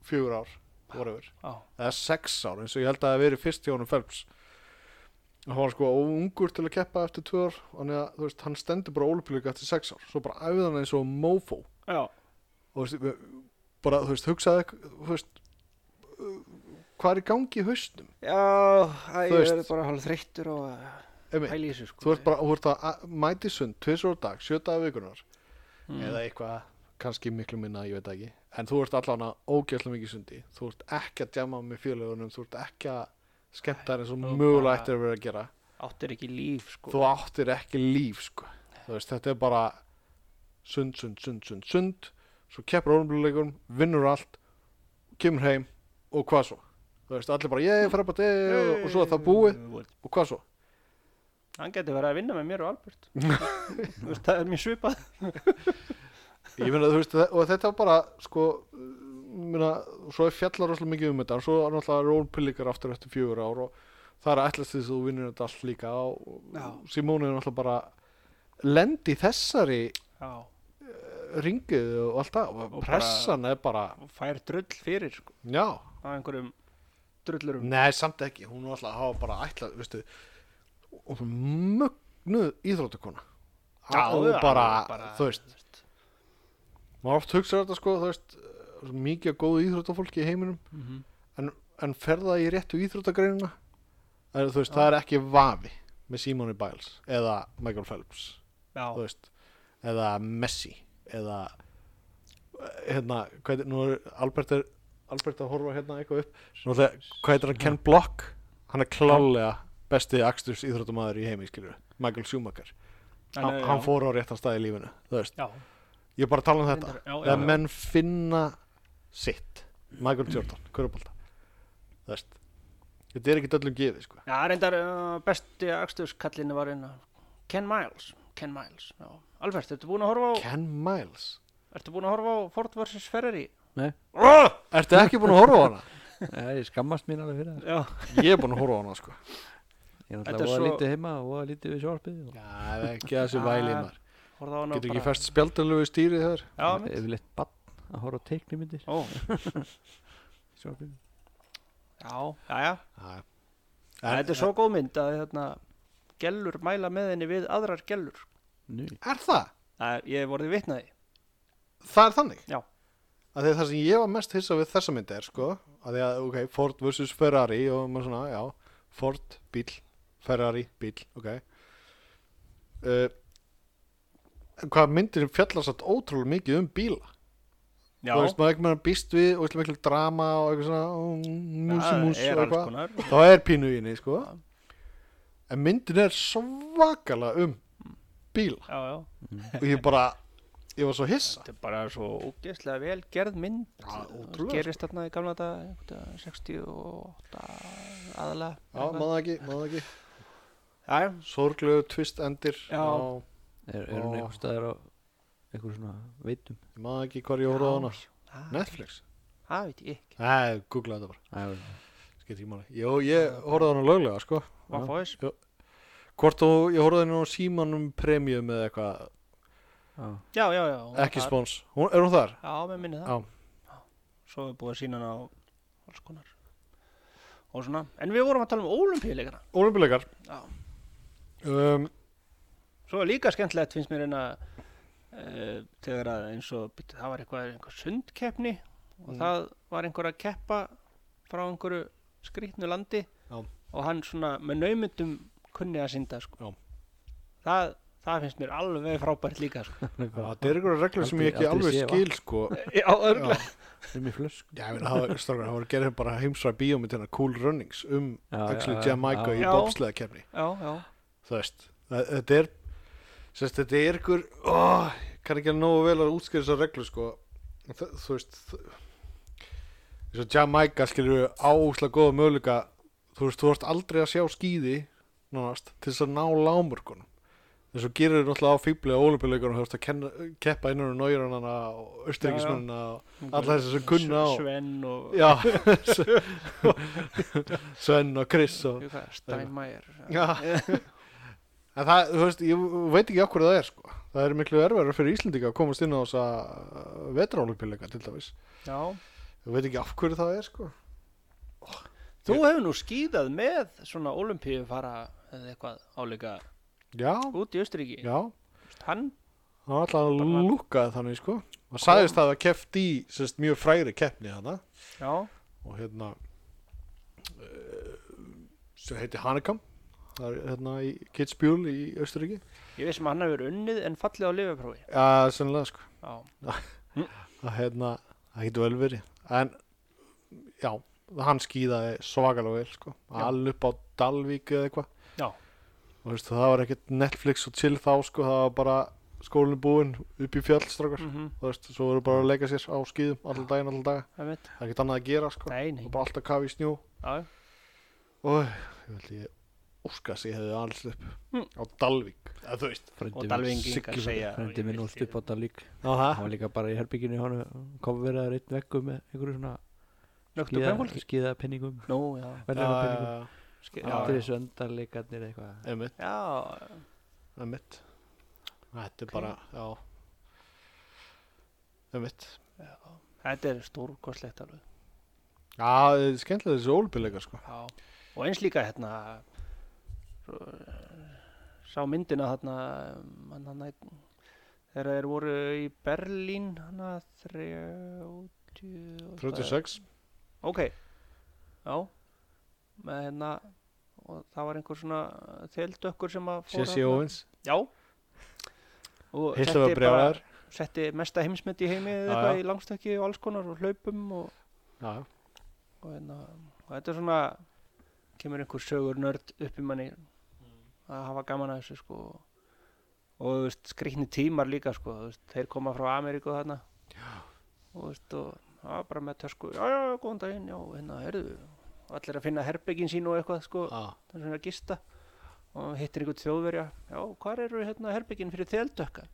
S1: fjögur ár whatever,
S3: já,
S1: eða sex ár eins og ég held að það hafi verið fyrst hjá honum Phelps hann var sko ungur til að keppa eftir tvö ár, þannig að þú veist, hann stendur bara ólimpíuleika eftir sex ár, svo bara æfði hann eins og mofó
S3: já,
S1: og þú veist, við- bara, þú veist, hugsaði ekk- þú veist, uh, hvað er í gangi í hausnum
S3: já, æ,
S1: Þú
S3: ég
S1: veist-
S3: er bara hálf þreyttur og eh,
S1: Emi,
S3: pæli í þessu sko
S1: þú ert bara, þú ert að að- mæta í sund tvisur á dag, sjö dagar vikunar
S3: Mm.
S1: eða eitthvað, kannski miklu minna ég veit það ekki, en þú ert allan að ógæsla mikið í sundi, þú ert ekki að djama með fjölugunum, þú ert ekki að skemmta þær eins og
S3: þú
S1: mögulega
S3: bara-
S1: ættir að vera að gera
S3: áttir ekki líf sko
S1: þú áttir ekki líf sko. þú veist, þetta er bara sund, sund, sund, sund, sund svo keppur ólumbluleikum, vinnur allt kemur heim og hvað svo þú veist, allir bara, ég fer upp að og, og svo er það búið og hvað svo
S3: hann getur verið að vinna með mér og Albert Þú veist, það er mér svipað
S1: ég meina, þú veist, þe- og þetta var bara sko, minna, svo er fjallar rosalega mikið um þetta, svo er náttúrulega rólpillikar aftur eftir fjögur ár og það er að ætlast því að þú vinnur þetta allt líka og
S3: Já.
S1: Simóni er náttúrulega bara lendi þessari
S3: já,
S1: ringið og allt það og
S3: Og
S1: pressan er bara,
S3: og fær drull fyrir sko
S1: já
S3: á einhverjum drullurum
S1: nei, samt ekki, hún var alltaf að hafa bara ætla, veistu og hún mögnuð íþróttakona
S3: Já,
S1: og
S3: já,
S1: bara,
S3: bara-
S1: þú veist maður oft hugsa þetta sko, þú veist svo mikið af góðu íþróttafólki í heiminum
S3: Mhm.
S1: en, en ferða í réttu íþróttagreinina en, þú veist, það er ekki vafi með Simone Biles eða Michael Phelps
S3: já,
S1: þú veist, eða Messi eða eh, hérna, hvað er, nú er Albert er Albert að horfa hérna eitthvað upp nú er það, hvað heitir hann, Ken Block hann er klálega besti aksturs íþróttumæður í heimi, skilur Michael Schumacher,
S3: Hann
S1: hann,
S3: er-
S1: hann
S3: já.
S1: fór á réttan stað í lífinu, þú veist
S3: Já,
S1: ég er bara að tala um þetta
S3: Reyndar, já, já,
S1: eða
S3: já.
S1: menn finna sitt Michael Jordan, Körubalda þú veist þetta er ekki öllum gefið sko
S3: já reyndar uh, besti aksturskallinu var einn Ken Miles, Ken Miles, já Albert, ertu búin að horfa á,
S1: Ken Miles,
S3: ertu búin að horfa á Ford vs. Ferrari?
S4: Nei,
S1: ertu ekki búin að horfa á hana?
S4: ja, ég skammast mín alveg fyrir það
S3: Já,
S1: ég er búin að horfa á hana sko
S4: Ég er
S3: Þetta
S4: náttúrulega
S3: er
S4: voða
S3: svo-
S4: lítið heima og voða lítið við sjónvarpið og
S1: já, það er ekki að þessu væli maður
S3: horfa á hana
S1: getur ekki fest spjaldalögu í stýrið þar
S3: Já, mitt.
S4: yfirleitt bann að horfa á teiknumyndir
S3: Ó,
S4: í sjónvarpinu.
S3: já, já, já
S1: Já.
S3: Þetta er svo góð mynd að hérna, gellur mæla með henni við aðrar gellur.
S4: Nú,
S1: er það?
S3: Það er, ég hef orðið vitnaði.
S1: það er þannig
S3: Já.
S1: að því að það sem ég var mest hissa við þessa myndi er sko að því að ok, Ford vs Ferrari og maður svona, já, Ford bíl Ferrari bíl, ok uh, hvað myndir fjallar satt ótrúlega mikið um bíla
S3: Já,
S1: þú veist, maður ekki meðan býst við og eitthvað mikil drama og eitthvað svona músi
S3: það
S1: músi og
S3: er alls
S1: eitthvað
S3: konar.
S1: þá er pínu í henni, sko en myndin er svakala um bíla
S3: Já, já,
S1: og ég bara, ég var svo hissa
S3: þetta er bara svo ógeðslega vel gerð mynd.
S1: Já, ótrúlega, sko.
S3: Gerist þarna í gamla dag, einhvern veginn 68 aðalega.
S1: já, maður það ekki, maður það ekki
S3: Já, já,
S1: sorglegu tvist endir
S3: Já.
S1: á-
S4: er, er
S1: Ó.
S4: hún einhver staðar á einhver svona veitum
S1: ég maður ekki hvar ég horfði á hana
S3: það-
S1: Netflix?
S3: það veit ég ekki.
S1: Nei, googlaði þetta bara,
S4: Æ,
S1: skiptir ekki máli Jó, ég horfði á hana löglega, sko
S3: Var fóðis?
S1: Hvort þú, ég horfði á hana á símanum premium eða eitthvað,
S4: á,
S3: Já, já, já. hún var
S1: ekki
S3: þar.
S1: spons hún, Er hún þar?
S3: Já, með minni það.
S1: Já.
S3: Svo er búið að sína hana á alls konar. Og svona, en við vorum að tala um ólumpíuleikana.
S1: Olympileikar
S3: Já.
S1: um,
S3: Svo er líka skemmtilegt finnst mér hérna uh, þegar að eins og byrju, það var eitthvað einhver sundkeppni og
S1: Mm.
S3: það var einhver að keppa frá einhverju skrýtnu landi
S1: Já.
S3: og hann svona með naumundum kunni að synda sko.
S1: Já.
S3: það, það finnst mér alveg frábært líka sko.
S1: Það er einhverja reglur sem ég
S4: Aldrei-
S1: ekki
S4: aldrei
S1: alveg
S4: séð, va?
S1: skil, sko
S3: Já, örgulega
S4: sem í flösku
S1: Já, ég meina, það var- strákar, það voru gerðið bara heimsra bíómynd hérna Cool Runnings um
S4: Já,
S1: Axel
S4: já, já,
S1: Jamaica
S4: já.
S1: í
S3: Já.
S1: bobsleða kemni
S3: Já, já,
S1: þú veist, það- þetta er sérst, þetta er ykkur ó, ég kann ekki að nógu vel að útskýra þessar reglur sko, En þa- þú veist þ- eins og Jamaica skilur við áhúslega góða möguleika þú veist, þú ert aldrei að sjá skýði nánast, til þess að ná lámörkunum eins og gerir þau náttúrulega á fíbli á olimpíuleikunum, þú veist að kenna, keppa innan um nájurannana og austuríkismennina og alla þess sem kunna á
S3: Sven og
S1: Já, Sven og Chris og
S3: Jú, hvað, Steinmeier
S1: Já En það, þú veist, ég veit ekki okkur það er sko Það er miklu erfæra fyrir Íslendinga að komast inn á þessa vetraólupilega til dæmis
S3: Já.
S1: Ég veit ekki af hverju það er sko
S3: Þú hefur nú skýðað með svona ólumpíu fara eða eitthvað áleika
S1: Já,
S3: út í Austuríki
S1: já,
S3: Hann
S1: hann alltaf
S3: Bara-
S1: lúkaði þannig sko Það sagðist að það keft í sérst, mjög fræri keppni þarna
S3: Já,
S1: og hérna uh, sem heiti Hanekam það er hérna í Kitzbühel í Östuríki
S3: ég veist sem að hann hefur unnið en fallið á lifaprófi.
S1: Já, sennilega sko
S3: Já,
S1: að hérna, það getur vel verið en já, hann skýðaði svakalega vel sko.
S3: Já.
S1: alveg upp á Dalvík eða eitthvað
S3: já,
S1: og veistu, það var ekkert Netflix og chill þá sko, það var bara skólinn búinn upp í fjallstrakar mm.
S3: mhm,
S1: þú veist, svo voru bara að leika sér á skýðum allan daginn, allan daga,
S3: það veit.
S1: það er ekkert annað að gera sko.
S3: Nei, nei,
S1: og bara alltaf kafi í snjó
S3: já,
S1: og ég veldi ég óska að ég hefði alls upp
S3: Mm.
S1: á Dalvík, eða þú veist
S3: og
S4: frendi minn,
S3: dalvingingar
S1: siglir-
S3: segja.
S4: frendi minn úr stup á það lík hann
S1: Aha.
S4: var líka bara í herbygginu hann kom verið að reitt vekku um með einhverju svona
S3: Nögtu kvenfólki.
S4: skíða penningum
S3: Nú, já,
S1: Já,
S4: verðlega penningum
S1: já,
S3: skýð, já,
S4: aldrei
S3: já,
S4: þessu öndarleikarnir eða eitthvað
S1: já, einmitt,
S3: já,
S1: einmitt þetta er bara, já einmitt
S3: þetta er stórkostlegt alveg.
S1: Já, það er skemmtilega þessi ólbyrleikar sko.
S3: Já, og eins líka hérna, svo, eh, sá myndina þarna, um, hann hann þegar þeir voru í Berlín, hann að 30...
S1: 36
S3: Ok, já, með hérna, eh, og það var einhver svona þeldökkur sem að fór
S1: Jesse Owens
S3: Já, og
S1: Hitler var
S3: setti bara-
S1: brjálæður.
S3: setti mesta heimsmet í heimi eða
S1: Já,
S3: eitthvað
S1: já.
S3: í langstökki og alls konar og hlaupum og,
S1: Já, já.
S3: og, hérna, og þetta er svona kemur einhver sögur nörd upp í manni að hafa gaman að þessu sko og þú veist, skrýtni tímar líka sko þú veist, þeir koma frá Ameríku þarna og þú veist og já, bara með tösku, já já, já, góðan daginn já, hérna, heyrðu, og allir að finna herbyggin sín og eitthvað sko,
S1: Já.
S3: það er svona að gista og hittir einhver þjóðverja já, hvar eru hérna herbyggin fyrir þeldökka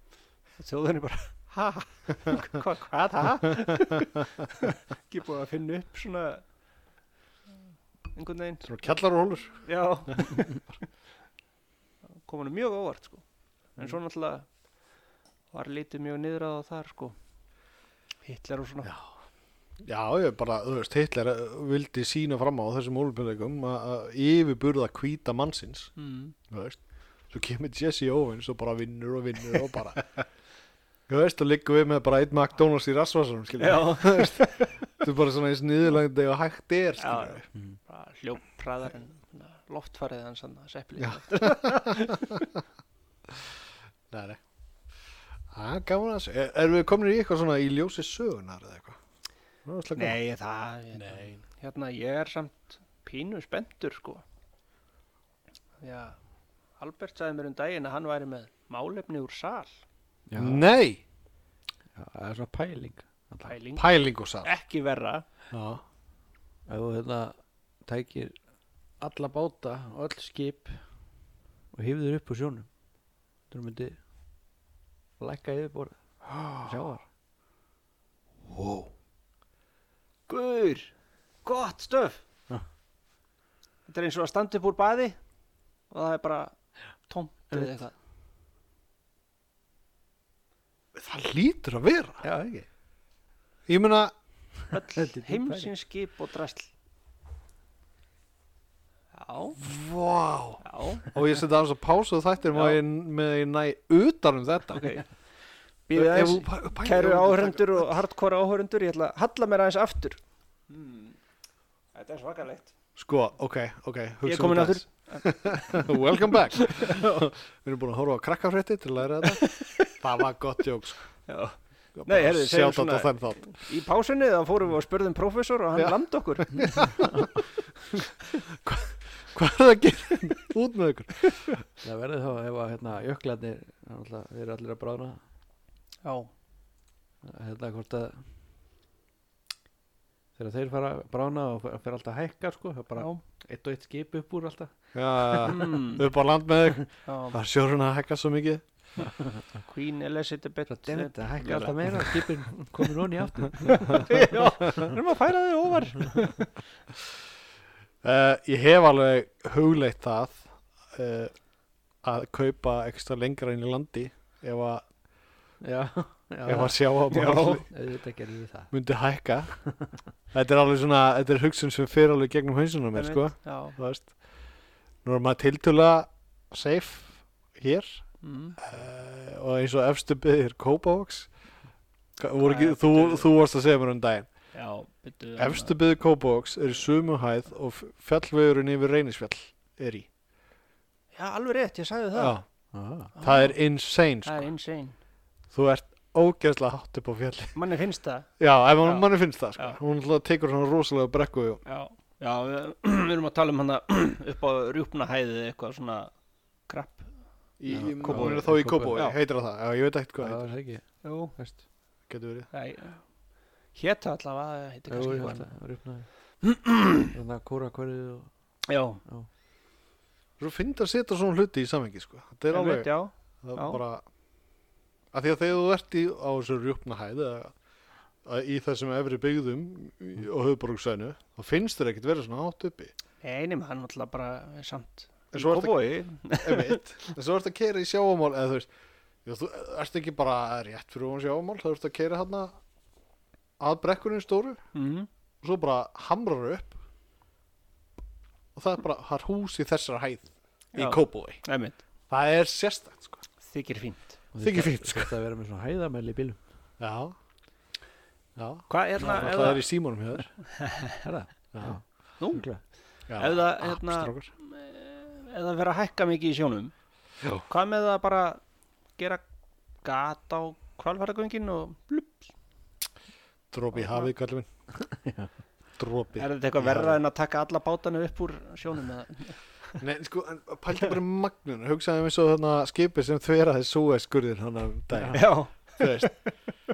S3: og þjóðverjin bara ha, hva, hvað ha ekki búið að finna upp svona einhvern veginn
S1: Svona kjallarólur.
S3: Já kom hann mjög á óvart sko en svo náttúrulega var lítið mjög niðrað á þar sko Hitler og svona Já,
S1: Já, ég bara, þú veist, Hitler eh, vildi sína fram á þessum ólumpileikum að að yfirburða hvíta mannsins,
S3: mm.
S1: þú veist. Svo kemur Jesse Owens og bara vinnur og vinnur og bara, þú veist, og liggum við með bara einn McDonalds í rassvarsanum, skiljum.
S3: já.
S1: Þú er bara svona eins niðurlægandi og hægt er, skiljum.
S3: já. Bara hljópraðar en svona loftfarið hans hann seppli
S1: Nei, nei. Það er gaman að þessu. Er- Erum við komin í eitthvað svona í ljósi sögunar eða eitthvað? Nú, það er gaman.
S3: Nei, það hérna,
S1: Nei.
S3: hérna, ég er samt pínu spenntur sko Já, Albert sagði mér um daginn að hann væri með málefni úr sal
S4: Já,
S1: Nei,
S4: já, það er svona pæling alltaf.
S3: pæling,
S1: pæling og sal.
S3: ekki verra
S1: Já.
S4: ef þú hérna tækir alla báta og öll skip og hifður upp úr sjónum þú myndi lækka yfirborð sjávar
S3: Guður, gott stöf
S4: Já.
S3: Þetta er eins og að standa upp úr baði og það er bara tómt eða
S4: Einmitt.
S3: eitthvað
S1: Það lítur að vera.
S4: já ekki
S1: Ég meina,
S4: Þetta
S3: Öll
S4: er djúp
S3: heimsins skip og drasl Já,
S1: vá.
S3: já
S1: Og ég seti aðeins að pása þættir
S3: Já.
S1: með að ég, með að ég næ utan um þetta.
S3: ok
S1: Ef
S3: Býðu aðeins,
S1: þú pæ- pælir-
S3: kæru áhörendur og hardcore áhörendur ég ætla að halla mér aðeins aftur Þetta er svakalegt
S1: Sko, ok, ok.
S3: Ég er
S1: hugsa
S3: komin
S1: um
S3: aftur.
S1: þetta. Welcome back. Við erum búin að horfa á krakkafrétti til að læra þetta. Það var gott sko. jóks.
S3: Já. Nei, heyrðu, segjum
S1: Sjátt á
S3: svona-
S1: þeim þátt.
S3: Í pásunni þá fórum við og spurðum professor og hann
S1: Já.
S3: lamdi okkur
S1: Hvað er það að gera? Út með ykkur.
S4: það verður þá ef að hérna jöklarnir náttúrulega, þeir eru allir að bráðna
S3: Já,
S4: hérna hvort að þegar þeir fara að bráðna og fer- fer alltaf að hækka sko, það er bara
S3: já,
S4: eitt og eitt skip upp úr alltaf
S1: Já, já, já.
S3: Mm.
S1: upp á land með þig
S3: já.
S1: það er sjórun að hækka svo mikið
S3: Queen Elizabeth
S4: Svo demmt, það hækka alltaf meira og skipin komur honi aftur
S3: Já, erum að færa þig óvar
S1: uh, ég hef alveg hugleitt það uh, að kaupa ekstra lengra inn í landi ef að,
S4: já, já,
S1: ef að sjá að maður
S4: auðvitað gerir við það
S1: myndi hækka þetta er alveg svona, þetta er hugsun sem fer alveg gegnum hausuna mér sko
S3: Já,
S1: þú veist. nú er maður tiltölulega safe hér
S3: mm.
S1: uh, og eins og efstu byggðir Kópavox Voru ekki,
S3: Nei,
S1: þú,
S3: þetta er-
S1: þú varst að segja mér um daginn
S3: já byttu
S1: efstu byggði Kópavox er í sumu hæð og f- fjallvegurinn yfir reynisfjall er í
S3: Já, alveg rétt, ég sagði það
S1: Já,
S4: ah.
S1: það er insane sko.
S3: Það er insane
S1: þú ert ógeðslega hátt upp á fjalli
S3: Manni finnst það
S1: já, ef
S3: Já.
S1: mann manni finnst það sko.
S3: Já.
S1: hún alltaf tekur svona rosalega brekku og-
S3: Já, já við, við erum að tala um hana upp á rjúpna hæðið eitthvað svona krapp
S1: í,
S4: Já,
S1: í,
S4: Kópavogi.
S1: hún er þá í Kópavogi,
S3: Já.
S1: heitir það það já, ég veit ekkert hvað
S4: það
S1: heitir,
S4: er ekki
S3: Jú,
S4: veist
S1: getur verið
S3: hétta allavega Hétta
S4: Jú,
S3: kannski
S4: ég
S3: hvað
S4: held að rjúpnaði Þannig að kóra Hérna, hverju og...
S3: Já,
S1: þú finnst að setja svona hluti í samengi sko. þetta er
S3: ég
S1: alveg
S3: já
S1: það er
S3: já.
S1: bara að því að þegar þú ert í, á þessu rjúpna hæð eða- að í þessum efri byggðum í- á höfuborgsæðinu þá finnst þér ekkert verið svona hátt uppi
S3: Einum hann alltaf bara er samt
S1: En
S3: í
S1: svo ertu-
S3: Kópavogi.
S1: Einmitt. en svo ertu að keira í sjáumál eða þú veist, já, þú ert ekki bara rétt fyrir hún sjáumál, þá ertu að keira hérna að brekkunum stóru
S3: Mhm.
S1: og svo bara hamrar upp og það er bara það er hús í þessara hæð í
S3: Já.
S1: Kópói,
S3: Einmitt.
S1: það er sérstætt sko.
S3: Þykir fínt
S1: Þykir fínt, sko.
S4: sko Það vera með svona hæðamæli í bílum
S1: já já,
S3: Hvað er
S1: það,
S3: það,
S1: það er í símónum hjá þér
S4: Herra,
S1: já,
S3: nú,
S1: já.
S4: örugglega.
S1: Ah,
S3: Ef það, hérna-
S1: strákar.
S3: eða vera að hækka mikið í sjónum
S1: Já.
S3: hvað með að bara gera gat á kvalfæragöngin og blup.
S1: Dropi í hafið, kallum minn. Dropi.
S3: Er þetta
S1: Já.
S3: eitthvað verra en að taka alla bátana upp úr sjónum eða?
S1: Nei, sko, en pældi bara um magnun. Hugsaði eins og þarna skipið sem þveraði súeskurðin hann af daginn.
S3: Já,
S1: Þú veist.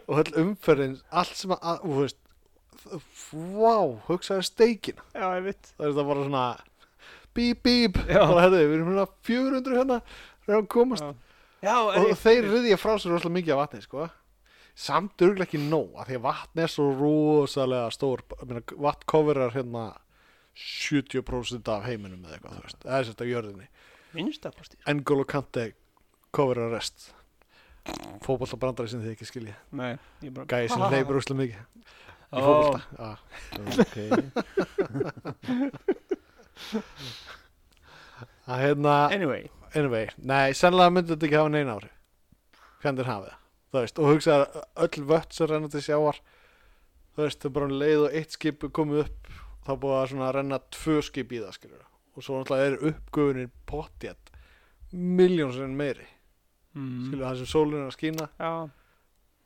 S1: Og öll umferðin, allt sem að, að- þú veist, f- vá, hugsaði steikina.
S3: já, ég veit.
S1: Það er það bara svona, bíp, bíp,
S3: Já.
S1: bara herðu, við erum hérna 400 hérna, reyna að komast.
S3: Já, er
S1: og
S3: ég,
S1: þeir riðja frá sér rosalega mikið af vatni sko. samt örgulega ekki nóg af því að vatn er svo rosalega stór Ég meina, vatn coverar hérna 70% af heiminum eða eitthvað, þú veist, eða sérst af jörðinni
S3: minnst að kosti.
S1: N'Golo Kante coverar rest fótbolta brandari sem þið ekki skilji
S3: Nei, ég bara...
S1: gæði sem hleypur rosalega mikið í
S3: Ó.
S1: fótbolta ah.
S4: ok
S1: að hérna,
S3: Anyway,
S1: anyway, nei, sennilega myndi þetta ekki hafa neina ári hvernig þeir hafið það þú veist, og hugsaði öll vött sem renna til sjávar þú veist, þau bara um leið og eitt skip er komið upp þá búið að svona renna tvö skip í það skilur og svo náttúrulega er uppgöfunin pottjætt miljónsinn meiri
S3: mm.
S1: skilur það sem sólinn er að skína
S3: já,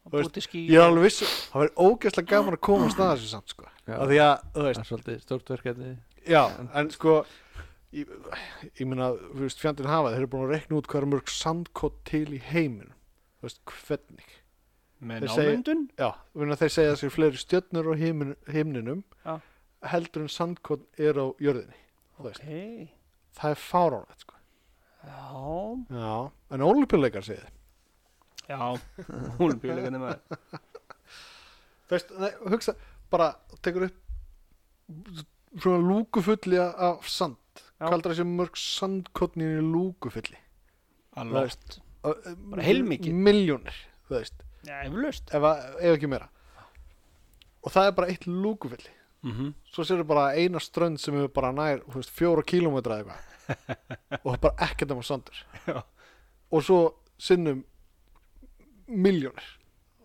S1: Þú veist,
S3: búti skí.
S1: ég er alveg viss, um, það verður ógeðslega gaman að koma að staða þessu samt sko
S4: Já.
S1: af því að, þú
S4: það
S1: veist,
S4: er svolítið stórt hérna. verkefni
S1: já, en sko ég, ég meina, þú veist, fjandinn hafa þeir eru búin að rekna út hvað er mörg sandkott til í heiminum, þú veist, hvernig
S3: Með
S1: Þeir segja-
S3: námyndun?
S1: Já, vinna, þeir segja að sér fleiri stjörnur á heimin, heimninum
S3: Já.
S1: heldur en sandkorn er á jörðinni. þú veist.
S3: Hei,
S1: Það er fáránlegt sko.
S3: já,
S1: Já, en ólimpíuleikar segja þið.
S3: já, húlbíuleikandi maður.
S1: Þú veist, nei, hugsa, bara tekur upp svona lúkufulli af sand.
S3: Já.
S1: Kaldra þessi mörg sandkorn í einu lúkufulli.
S3: Alveg.
S1: Þú
S3: oft.
S1: Bara
S3: heilmikið.
S1: Miljónir, þú veist,
S3: Já, eflaust.
S1: ef, að- ef ekki meira. Og það er bara eitt lúkufulli.
S3: Mm -hmm.
S1: svo sér bara eina strönd sem er bara nær þú veist, fjóra kílómetra eða eitthvað og það er bara ekkert um að sandur
S3: Já.
S1: og svo sinnum miljónir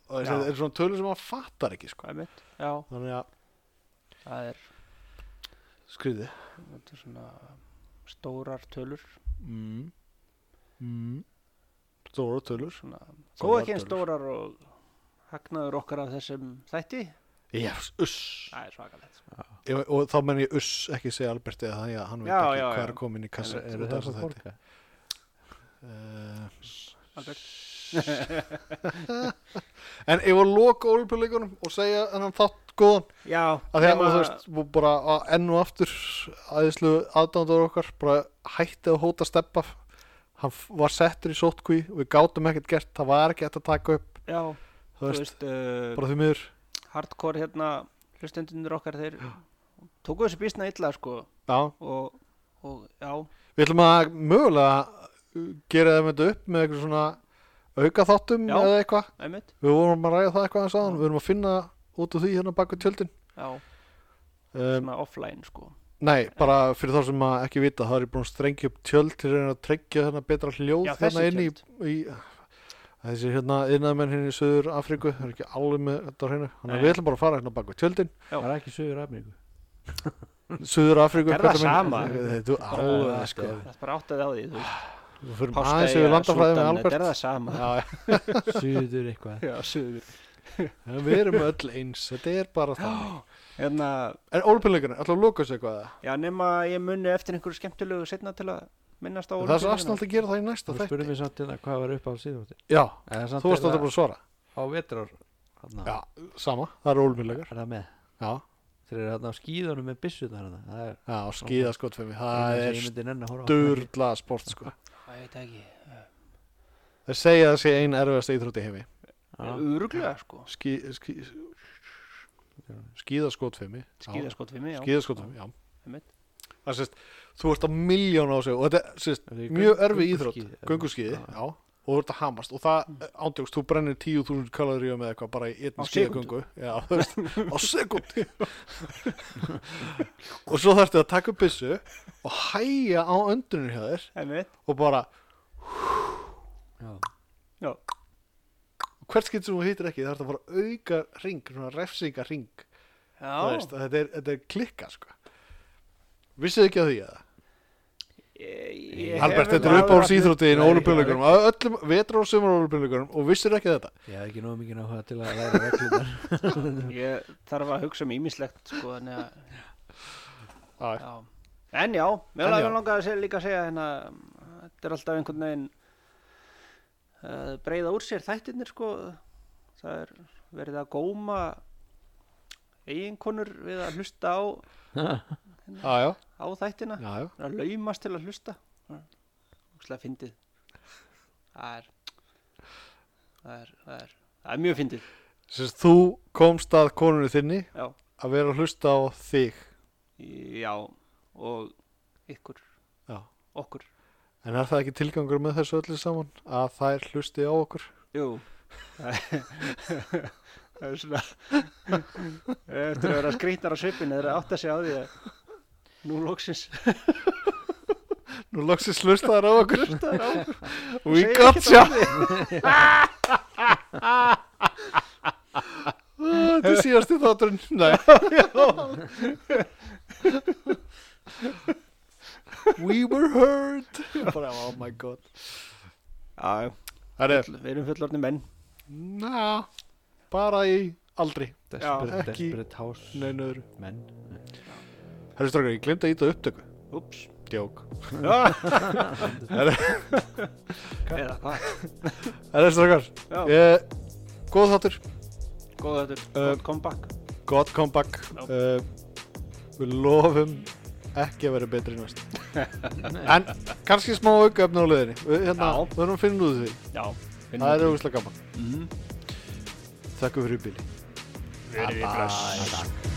S1: og
S3: Já.
S1: það er svona tölur sem maður fattar ekki sko.
S3: Hvað er mitt? Já,
S1: þannig að
S3: það er,
S1: skriði
S3: þetta er svona stórar tölur.
S1: mm. Mm. stóra tölur
S3: Svona, þó
S1: Stórar
S3: ekki eins
S1: tölur.
S3: stórar og hagnaður okkar af þessum þætti.
S1: yes, uss
S3: Það er svakalegt. sko.
S1: Ég- og þá menn ég uss ekki segja Alberti að þannig að hann veit
S3: Já,
S1: ekki
S3: já,
S1: hvað
S3: já.
S1: er komin í kassa
S4: eru
S1: út af
S4: það
S1: þessu
S4: að
S1: þætti.
S4: borga
S1: Eh,
S3: Albert.
S1: en ég var loka ólipurleikunum og segja þennan þátt góðan
S3: Já,
S1: að því að þú veist, bú- bara að- enn og aftur aðeinslu aðdándur okkar bara hætti að hóta steppa hann f- var settur í sótkví við gátum ekkert gert, það var ekki hægt að taka upp
S3: já,
S1: þú
S3: þú
S1: veist,
S3: veist, uh,
S1: bara því miður
S3: hardcore hérna, hlustendunir okkar, þeir tóku þessu bísna illa, sko,
S1: já,
S3: og, og já,
S1: við ætlum að mögulega uh, gera þeim þetta upp með eitthvað svona auka þáttum
S3: Já.
S1: eða eitthvað,
S3: einmitt,
S1: við vorum að ræða það eitthvað aðeins aðan, við vorum að finna út úr því hérna baku tjöldin
S3: já,
S1: um,
S3: svona offline, sko.
S1: nei, bara fyrir þá sem að ekki vita, það er ég búin að strengja upp tjöld til að reyna að trengja þennan betra hljóð
S3: Já,
S1: hérna
S3: þessi
S1: inn í,
S3: tjöld.
S1: í þessi hérna innamenn hérna í Suður Afríku það er ekki alveg með þetta á hreinu þannig að
S3: Nei.
S1: við ætlum bara að fara hérna bak við tjöldin
S3: Já.
S4: það er ekki sögur afmyngu
S1: Suður Afríku
S3: Er það
S1: kallar minn.
S3: sama?
S1: þetta er alveg sko
S3: Það er bara áttið á því, þú veist,
S1: við förum aðeins
S3: páskaði
S1: yfir landafræði með
S3: þetta er
S1: Albert
S3: það sama.
S1: Já, já.
S4: sögur sko. eitthvað
S3: Já, sögur.
S1: En við erum öll eins þetta er bara það
S3: Hérna,
S1: er ólpinleikurinn ætlum að loka þessu eitthvað eða?
S3: já, nema ég muni eftir einhverju skemmtilegu setna til að minnast á
S1: það er svo
S3: Ólympíuleikana.
S1: aðsnald að gera það í næsta
S4: þú spurði
S1: þætti
S4: mér samt hérna hvað var upp á síðan
S1: já
S4: þú
S1: þú varst alltaf bara að svara
S4: hérna á vetrar hana,
S1: já sama það er ólpinleikar
S4: er það með
S1: já
S4: þeir eru hérna á skíðunum með byssunar hérna það er
S1: já skýða skotfemi það
S4: eina sem
S1: er
S4: ég myndi nenni að horfa á.
S1: sturla sport sko
S3: Æ, Ég veit það ekki.
S1: þeir segja að það sé ein erfiðast íþrótt í heimi
S4: Já.
S3: Öruglega, sko.
S1: skí, skí, skíðaskotfimi
S3: Skíðaskot við mig, já.
S1: skíðaskotfimi, já
S3: Einmitt.
S1: það sést, þú ert að miljón á sig og þetta er sést,
S4: Er það í
S1: mjög
S4: göngu-
S1: erfið íþrótt
S4: gönguskíði?
S1: gönguskíði,
S4: Já. Mm.
S1: já, og þú ert að hamast og það, ándjóks, þú brennir 10.000 kaloríu með eitthvað bara í
S3: Á
S1: einn skíðagöngu já, þú veist, á sekundi og svo þarftu að taka upp byssu og hæja á öndunum hjá þér
S3: Einmitt.
S1: og bara,
S4: Já.
S3: Já,
S1: hvert skilt sem þú hittir ekki þarftu að fara að auka ring, svona refsinga ring
S3: já.
S1: Þú veist, að þetta, er, þetta er klikka sko. Vissið þið ekki að því að
S3: Ég, Ég-
S1: Albert, þetta er
S3: Hefur
S1: uppáhalds íþróttiðin
S4: Nei, ekki
S1: ólupinleikunum, öllum vetra og sömur ólupinleikunum og vissir ekki þetta
S4: Ég hafði ekki nógu mikið náhuga til að læra reglunar
S3: Ég þarf að hugsa um ímislegt sko, þannig að
S1: Æ,
S3: Já. En já, mér
S1: En
S3: langar
S1: já.
S3: langaði að segja, líka að segja hérna, um, þetta er alltaf einhvern veginn uh, breyða úr sér þættirnir sko, það er verið að góma eiginkonur við að hlusta á,
S1: aðjá,
S3: á þættina,
S1: aðjá
S3: að laumast til að hlusta, úkslega fyndið, það er, það er, það er, það er mjög fyndið,
S1: Sérst, þú komst að konunni þinni
S3: já,
S1: að vera að hlusta á þig
S3: já, og ykkur,
S1: Já.
S3: okkur,
S1: En er það ekki tilgangur með þessu öllu saman að þær hlusti á okkur?
S3: Jú Það er svona Eftir að vera skrýtnar á svipin Þeir átt að segja á því að Nú loksins
S1: Nú loksist hlustaðar á okkur
S3: hlustaðar á okkur.
S1: We
S3: Segir
S1: got
S3: ekkert um
S1: you!
S3: annað.
S1: Þetta er síðast í þátturinn Nei We were heard Bara, oh my god
S3: Já, já,
S1: Það er,
S3: full- við erum fullorðni menn
S1: na, bara í aldri
S4: Desperate,
S1: ekki-
S4: desperate house
S1: Nein öðru
S4: menn
S1: Herri strákar, ég glemt að íta upptöku
S3: Úps
S1: Djók
S3: Eða hvað
S1: Herri strákar
S3: Já.
S1: eh, Góð þáttur
S3: Góða þetta,
S1: Eh,
S3: gott comeback
S1: Gott comeback
S3: Já.
S1: uh, Við lofum ekki að vera betri næst En kannski smá auka efni á leiðinni Við hérna,
S3: Já.
S1: við erum að finna út úr því
S3: Já,
S1: Það er auðvitað gaman
S3: Mhm.
S1: Þakku fyrir bíli
S3: Verið í bless